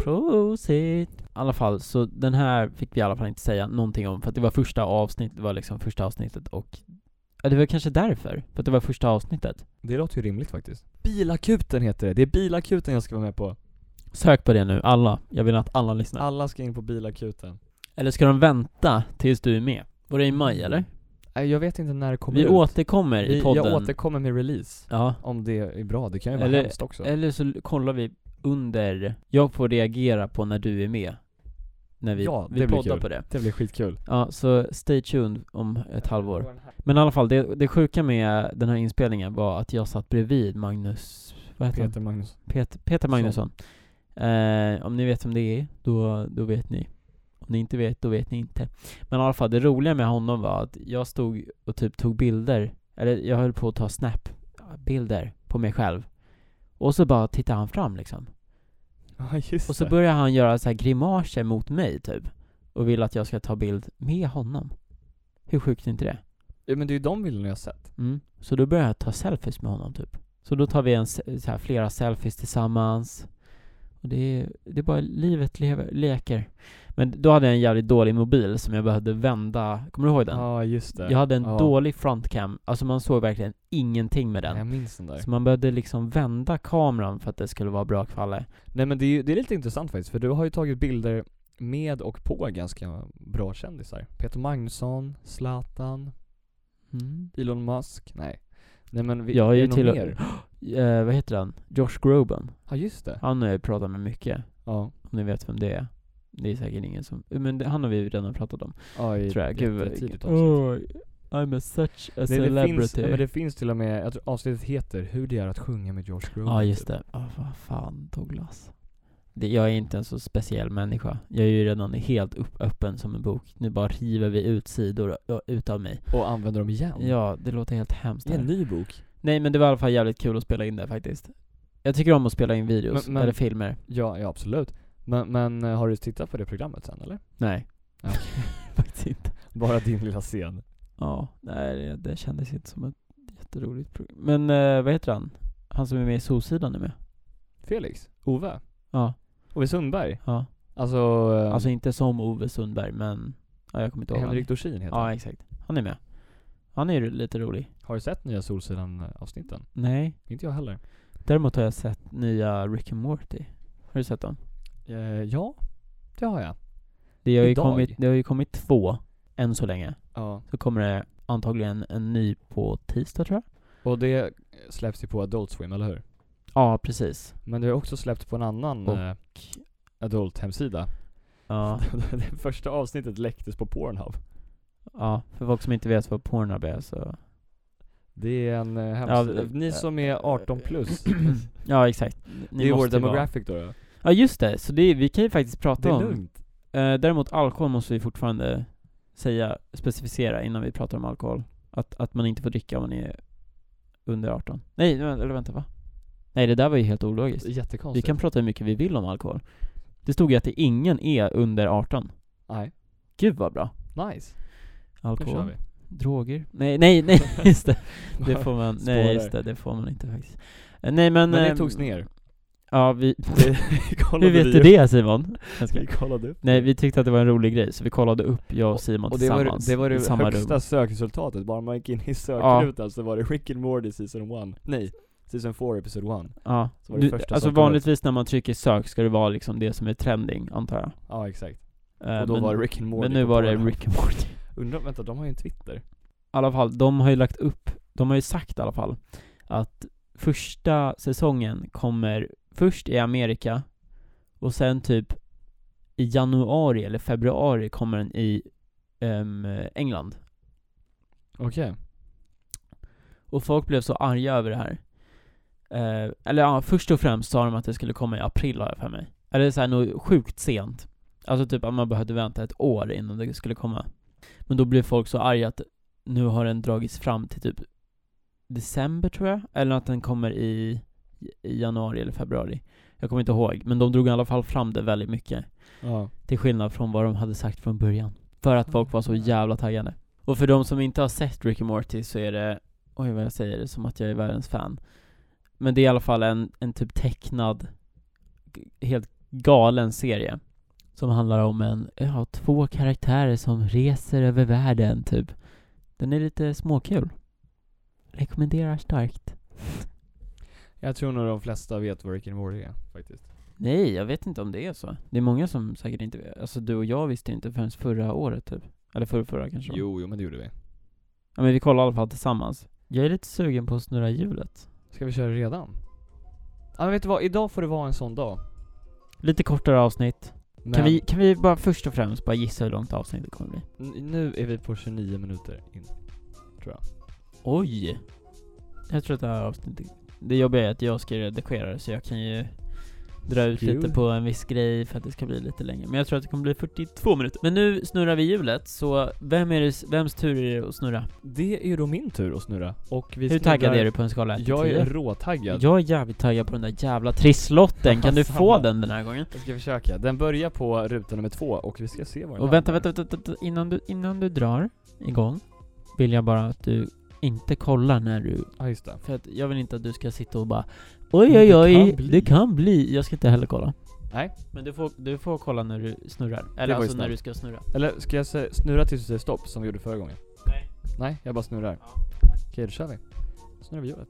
Prosit! I alla fall, så den här fick vi i alla fall inte säga någonting om, för att det var första avsnittet, det var liksom första avsnittet och... Ja, det var kanske därför, för att det var första avsnittet.
Det låter ju rimligt faktiskt. Bilakuten heter det, det är bilakuten jag ska vara med på.
Sök på det nu, alla. Jag vill att alla lyssnar.
Alla ska in på bilakuten.
Eller ska de vänta tills du är med? Var det i maj eller?
Nej, jag vet inte när det kommer
Vi
ut.
återkommer i podden.
Jag återkommer med release.
ja.
Om det är bra, det kan ju vara
Eller-
hemskt också.
Eller så l- kollar vi under, jag får reagera på när du är med. När vi,
Ja, det
vi
blir
poddar
kul.
på det.
det blir skitkul.
Ja, så stay tuned om ett halvår. Men i alla fall, det, det sjuka med den här inspelningen var att jag satt bredvid Magnus, vad heter han?
Peter Magnusson.
Peter, Peter Magnusson. Eh, om ni vet vem det är, då, då vet ni. Om ni inte vet, då vet ni inte. Men i alla fall, det roliga med honom var att jag stod och typ tog bilder, eller jag höll på att ta snap-bilder på mig själv. Och så bara tittade han fram liksom.
<laughs> Ja just
Och så
det.
börjar han göra så här grimaser mot mig typ. Och vill att jag ska ta bild med honom. Hur sjukt är inte det?
ja, men det är ju de bilderna jag har sett.
Mm. Så då börjar jag ta selfies med honom typ. Så då tar vi en, se- så här, flera selfies tillsammans. Och det är, det är bara livet lever, leker. Men då hade jag en jävligt dålig mobil som jag behövde vända, kommer du ihåg den?
Ja just det.
jag hade en
ja.
dålig frontcam, alltså man såg verkligen ingenting med
Nej, Jag
den.
minns den där.
Så man behövde liksom vända kameran för att det skulle vara bra kvalle.
Nej men det är, ju- det är lite intressant faktiskt, för du har ju tagit bilder med och på ganska bra kändisar. Peter Magnusson, Zlatan,
Mm.
Elon Musk. Nej. Nej men vi,
Jag har
är
ju
det någon
till-
mer?
Eh, vad heter han? Josh Groban.
Ja
<gasps>
just det.
Han har jag pratat med mycket,
Ja.
om ni vet vem det är. Det är säkert ingen som, men det, han har vi ju redan pratat om.
ja i
tror jag.
ett
Gud,
tidigt
tidigt
avsnitt.
I'm a such a
Nej, det finns,
celebrity.
ja, men det finns till och med, jag tror avsnittet heter 'Hur det är att sjunga med George Groban'
Ja, just det. Ja, vad fan Douglas. Det, jag är inte en så speciell människa. Jag är ju redan helt upp, öppen som en bok. Nu bara river vi ut sidor ö, utav mig.
Och använder dem igen.
Ja, det låter helt hemskt.
Det är en
Här.
ny bok.
Nej, men det var i alla fall jävligt kul att spela in det faktiskt. Jag tycker om att spela in videos,
Men- men-
eller filmer.
Ja, ja absolut. Men, men eh, har du tittat på det programmet sen eller?
Nej.
Ja.
<laughs> Faktiskt inte.
Bara din lilla scen.
Ja, nej det, det kändes inte som ett jätteroligt program. Men eh, vad heter han? Han som är med i Solsidan är med.
Felix, Ove,
Ja,
Ove Sundberg.
ja.
Alltså, eh,
Alltså inte som Ove Sundberg men, ja jag kommer inte ihåg vad han
Henrik Dorsin heter
Ja
han.
exakt. Han är med. Han är ju lite rolig.
Har du sett nya Solsidan-avsnitten?
Nej.
Inte jag heller.
Däremot har jag sett nya Rick and Morty. Har du sett dem?
Eh, ja, det har jag.
Det har, ju
Idag?
kommit, det har ju kommit två, än så länge.
Ja.
Så kommer det antagligen en ny på tisdag tror jag.
Och det släpps ju på Adult Swim, eller hur?
Ja, precis.
Men det har också släppts på en annan
Och-
eh, Adult-hemsida.
Ja,
<laughs> det första avsnittet läcktes på Pornhub.
ja. För folk som inte vet vad Pornhub är så...
Det är en eh,
Ja,
hemsida.
eh,
Ni som är 18 plus.
<clears throat>
<clears throat>
Ja, exakt. Ni
det är vår
måste vara-
demographic då. då.
Ja just det, så det, vi kan ju faktiskt prata
Det är
om.
lugnt.
Eh, däremot alkohol måste vi fortfarande säga, specificera innan vi pratar om alkohol. Att, att man inte får dricka om man är under 18. Nej, men- eller vänta va? Nej det där var ju helt ologiskt. Vi
Jättekonstigt.
kan prata hur mycket vi vill om alkohol. Det stod ju att det ingen är under 18.
Nej.
Gud vad bra.
Nice. Nu kör
Alkohol,
vi.
droger. Nej, nej,
<laughs>
nej, just det. Det får man,
Spårar.
nej just det, det får man inte faktiskt. Eh, Nej men...
<laughs> Men det
ehm,
togs ner.
Ja,
<laughs>
vi... <laughs>
Vi kollade
Hur vet du
upp-
det Simon? Jag skojar.
Vi <laughs> kollade upp.
Nej, vi tyckte att det var en rolig grej, så vi kollade upp jag och Simon
Och det var
tillsammans
det, var
i
det
samma
högsta
rum.
sökresultatet, bara man gick in i sökrutan så var det Rick and Morty season 1. Nej, season 4 episode 1.
Ja.
Så var det
Du,
första
alltså
som kom upp.
vanligtvis när man trycker sök ska det vara liksom det som är trending, antar jag.
Ja exakt.
Eh,
Och då
men,
var det Rick and Morty
men nu
på
var det
Pornhub.
Rick and Morty. I
Undrar, vänta, de har ju en Twitter.
alla fall, de har ju lagt upp, de har ju sagt i alla fall att första säsongen kommer först i Amerika och sen typ i januari eller februari kommer den i ehm, England.
Okej.
Och folk blev så arga över det här. Eh, eller ja, först och främst sa de att det skulle komma i april har jag för mig. Eller såhär nog sjukt sent. Alltså typ att man behövde vänta ett år innan det skulle komma. Men då blev folk så arga att nu har den dragits fram till typ december tror jag. Eller att den kommer i, i januari eller februari. Jag kommer inte ihåg. Men de drog i alla fall fram det väldigt mycket.
Ja.
Till skillnad från vad de hade sagt från början. För att folk var så jävla taggade. Och för de som inte har sett Rick and Morty så är det, oj vad jag säger det, som att jag är världens fan. Men det är i alla fall en, en typ tecknad, g- helt galen serie. Som handlar om en, ja, två karaktärer som reser över världen typ. Den är lite småkul. Rekommenderar starkt.
Jag tror nog de flesta vet vad Rick and Morty är faktiskt.
Nej, jag vet inte om det är så. Det är många som säkert inte vet. Alltså du och jag visste inte förrän förra året typ. Eller förra, förra kanske. det var.
Jo, jo men det gjorde vi.
Ja men vi kollar i alla fall tillsammans. Jag är lite sugen på att snurra hjulet.
Ska vi köra redan? Ja men vet du vad, idag får det vara en sån dag.
Lite kortare avsnitt.
Men
Kan vi, kan vi bara först och främst bara gissa hur långt avsnittet kommer bli?
n- nu är vi på 29 minuter in.
Oj! Jag tror att det här avsnittet... Det jobbiga är att jag ska redigera det så jag kan ju dra ut
Kul.
lite på en viss grej för att det ska bli lite längre. Men jag tror att det kommer bli 42 minuter. Men nu snurrar vi hjulet, så vem är det, vems tur är det att snurra?
Det är ju då min tur att snurra. Och vi
Hur taggad är du på en skala 1 till
Jag är
10?
råtaggad.
Jag är jävligt taggad på den där jävla trisslotten, kan du
<laughs> Samma.
få den den här gången?
Jag ska försöka. Den börjar på ruta nummer två och vi ska se var den
Och vänta,
landar.
vänta, vänta, vänta. Innan, du, innan du drar igång vill jag bara att du inte kollar när du...
Ja, just det.
För att jag vill inte att du ska sitta och bara Oj
Det
oj oj, det
kan
kan
bli."
bli. Jag ska inte heller kolla.
Nej.
Men du får, du får kolla när du snurrar.
ju
Eller alltså när
snällt.
du ska snurra.
Eller ska jag se- snurra tills du säger stopp som vi gjorde förra gången?
Nej.
Nej, jag bara snurrar. Okej, då kör vi. Snurrar vi hjulet.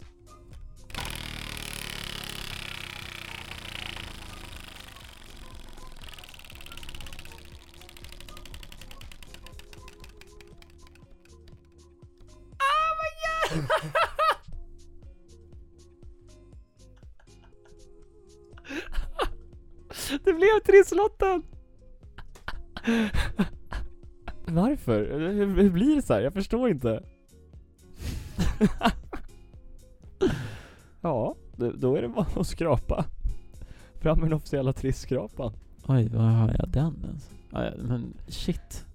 Ah, <laughs>
Det blev trisslotten! Varför? Eller Hur, hur blir det så här? Jag förstår <laughs> inte. ja, det- då är det bara att skrapa. Fram med den officiella trisskrapan.
Oj, var har jag den ens? Ah, Ja, ja, men shit.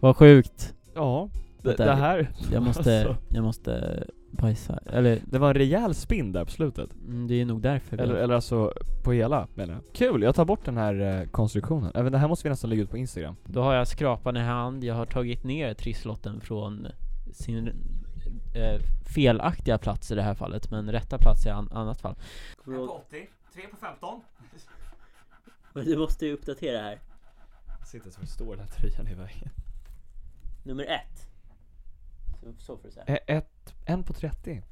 Vad sjukt.
Ja, det,
Vänta,
det här...
Jag måste,
<laughs> Alltså.
jag måste bajsa. Eller,
Det var en rejäl spinn där på slutet.
mm, det är nog därför. vi-
Eller, eller alltså på hela menar jag. Kul, jag tar bort den här eh, konstruktionen. Även det här måste vi nästan lägga ut på Instagram.
Då har jag skrapan i hand, jag har tagit ner trisslotten från sin eh, felaktiga plats i det här fallet, men rätta plats i an- annat fall.
80, 3 på 15.
Men du måste ju uppdatera här.
Jag ser inte ens var det står den här tröjan i vägen.
Nummer ett. Så, får du säga.
Eh, Ett, en på 30.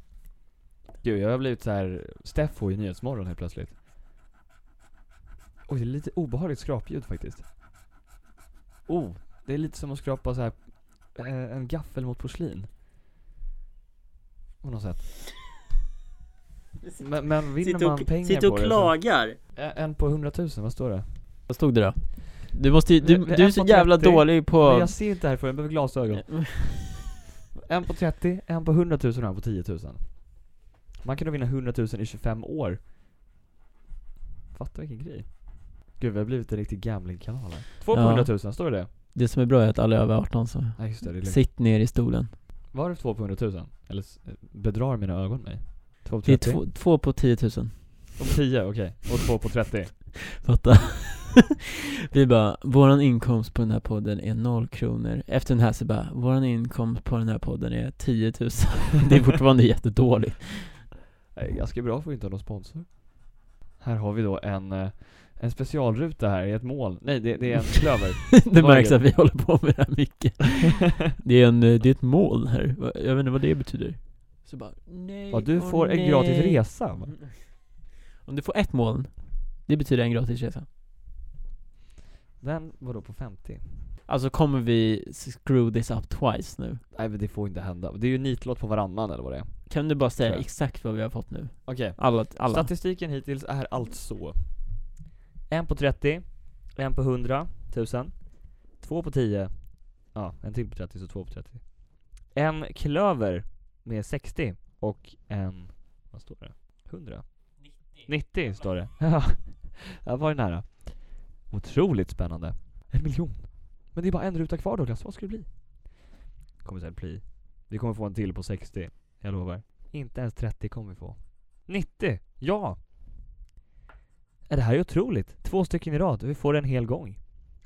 Gud, jag har blivit så här Steffo i Nyhetsmorgon helt plötsligt. Oj, det är lite obehagligt skrapljud faktiskt. Oh, det är lite som att skrapa så här eh, en gaffel mot porslin. På något sätt. Men, men vinner man pengar på det så-
klagar.
Eh, En på 100 000, vad står det?
Vad stod det då? Du måste ju, du,
Vi- vi-
du är
en
så
på
jävla
30.
dålig
Men
på...
jag ser inte härifrån, jag behöver glasögon. En på 30, en på 100 000 och en på 10 000. Man kan då vinna 100 000 i 25 år. Fatta vilken grej. Gud, vi har blivit en riktig gamblingkanal här. Två på
Ja.
100 000, står det det?
Det som är bra är att alla är över 18 så
Nej just det, det är lugnt.
sitt ner i stolen.
Var det två på 100 000? Eller s- bedrar mina ögon mig? Två på
Det är
30?
två, två på 10 000.
Två på 10, okej. Och två på 30.
Fatta. <laughs> Vi bara, våran inkomst på den här podden är noll kronor. Efter den här så bara, våran inkomst på den här podden är 10 000. <laughs> Det är fortfarande jättedåligt.
Nej, ganska bra för att inte ha någon sponsor. Här har vi då en, eh, en specialruta här i ett mål. Nej, det, det är
<laughs>
en klöver.
Det
Vad är
märks
det?
att vi håller på med det här mycket. Det är, en, eh, det är ett mål här. Va- Jag vet inte vad det betyder. Så bara, nej,
Ja, du
åh
får en gratis
nej.
resa. va?
Om du får ett mål, det betyder en gratis resa.
Den var då på 50.
Alltså kommer vi screw this up twice nu?
Nej men det får inte hända. Det är ju nitlott på varannan eller vad det är.
Kan du bara säga
Tror jag.
exakt vad vi har fått nu?
Okej.
Alla, alla.
Statistiken hittills är alltså. En på 30, en på 100 tusen, två på 10, ja en till på 30 så två på 30. En klöver med 60 och en, vad står det? 100? 90, står det. <laughs> Ja, jag var ju nära. Otroligt spännande. En miljon. Men det är bara en ruta kvar Douglas, vad ska det bli? Kommer säkert bli. Vi kommer få en till på 60, jag lovar. Inte ens 30 kommer vi få. 90! Ja! Äh, Det här är otroligt. Två stycken i rad och vi får en hel gång.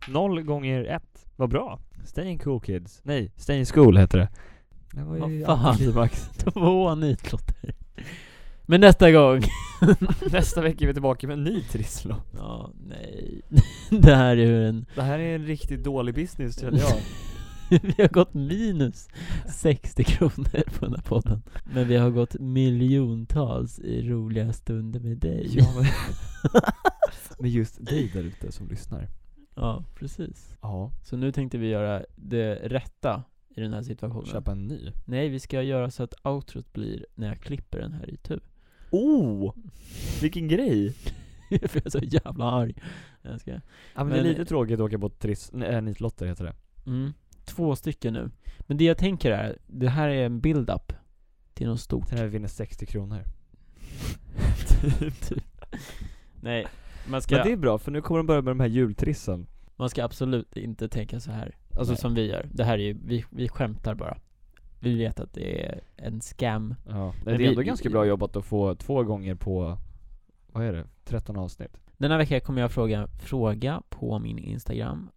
Noll gånger ett. Vad bra. Stay in cool kids. Nej, stay in school heter det. Det var ju
Vad fan.
antiklimax.
Två nitlotter. Men nästa gång.
<laughs> Nästa vecka är vi tillbaka med en ny trisslott.
Ja, nej. <laughs> Det här är ju en...
<laughs>
<laughs>
Det här är en riktigt dålig business känner jag.
Vi har gått minus 60 kronor på den här podden. Men vi har gått miljontals i roliga stunder med dig.
<laughs> ja, men, <laughs> men just dig där ute som lyssnar.
Ja, precis.
Ja,
Så nu tänkte vi göra det rätta i den här situationen.
köpa en ny.
Nej, vi ska göra så att outrot blir när jag klipper den här i typ tu.
Oh! Vilken grej!
För <laughs> jag är så jävla arg. Jag ska...
Ja men, det
Men-
är lite tråkigt att åka på triss... Nej, äh, nitlotter heter det.
mm. Två stycken nu. Men det jag tänker är, det här är en build-up <laughs> till något stort.
Sen när vi vinner 60 kronor.
typ. Nej, man ska,
Men det är bra, för nu kommer de börja med de här jultrissen.
man ska absolut inte tänka så här. Alltså
Nej.
som vi gör. Det här är ju, vi, vi skämtar bara. Vi vet att det är en scam.
Ja.
Men
Nej, det
vi-
är ändå ganska bra jobbat att få två gånger på, vad är det, 13 avsnitt.
Denna vecka kommer jag fråga fråga på min Instagram.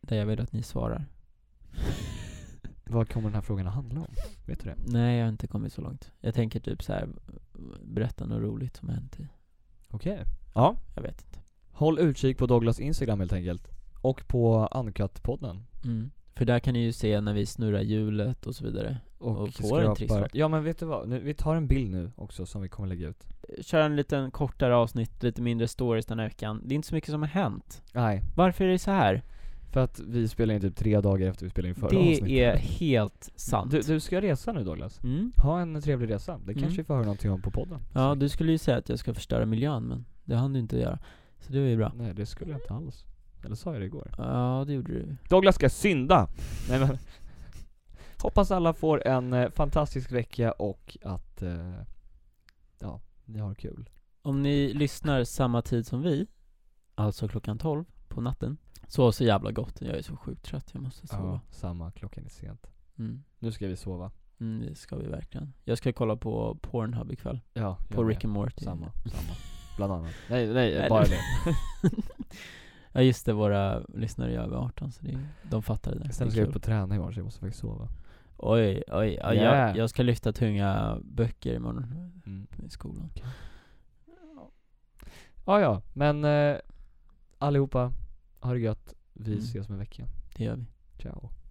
Där jag vill att ni svarar. <laughs>
Vad kommer den här frågan att handla om? Vet du det?
Nej, jag har inte kommit så långt. Jag tänker typ så här berätta något roligt som har hänt i.
Okej. Ja.
Jag vet inte.
Håll utkik på Douglas Instagram helt enkelt. Och på Uncut-podden.
Mm. För där kan ni ju se när vi snurrar hjulet och så vidare.
Och,
Och får en triss, va?
Ja men vet du vad, nu, vi tar en bild nu också som vi kommer lägga ut.
Köra en liten kortare avsnitt, lite mindre stories den här veckan. Det är inte så mycket som har hänt.
Nej,
Varför är det så här?
för att vi spelar in typ tre dagar efter vi spelade in förra avsnittet.
Det är helt sant.
Du, du ska resa nu Douglas.
Mm.
Ha en trevlig resa. Det kanske vi får höra någonting om på podden.
Ja,
Så-
du skulle ju säga att jag ska förstöra miljön, men det hann du inte göra. Så det var ju bra.
Nej det skulle jag inte alls. Eller sa jag det igår?
Ja, det gjorde du.
Douglas ska synda! Nej men. <laughs> Hoppas alla får en eh, fantastisk vecka och att, eh, ja, ni har kul.
Om ni lyssnar samma tid som vi, alltså klockan 12 på natten, så så jävla gott. Jag är så sjukt trött, jag måste sova.
Samma, klockan är sent.
Mm.
Nu ska vi sova.
Mm, det ska vi verkligen. Jag ska kolla på Pornhub ikväll.
Ja, jag
På
med.
Rick and Morty.
Samma, samma. <laughs> Bland annat. Nej, nej,
Nej,
bara
det-
<laughs> det.
Ja just det, våra lyssnare är över 18 så det är, de fattar det där.
Sen
Det
ska
är
jag
kul.
upp och träna imorgon så jag måste faktiskt sova.
Oj, oj, oj
Yeah.
jag, jag ska lyfta tunga böcker imorgon
Mm.
i skolan.
Ja, ja, men eh, allihopa, ha det gött. Vi
Mm.
ses om en vecka.
Det gör vi.
Ciao.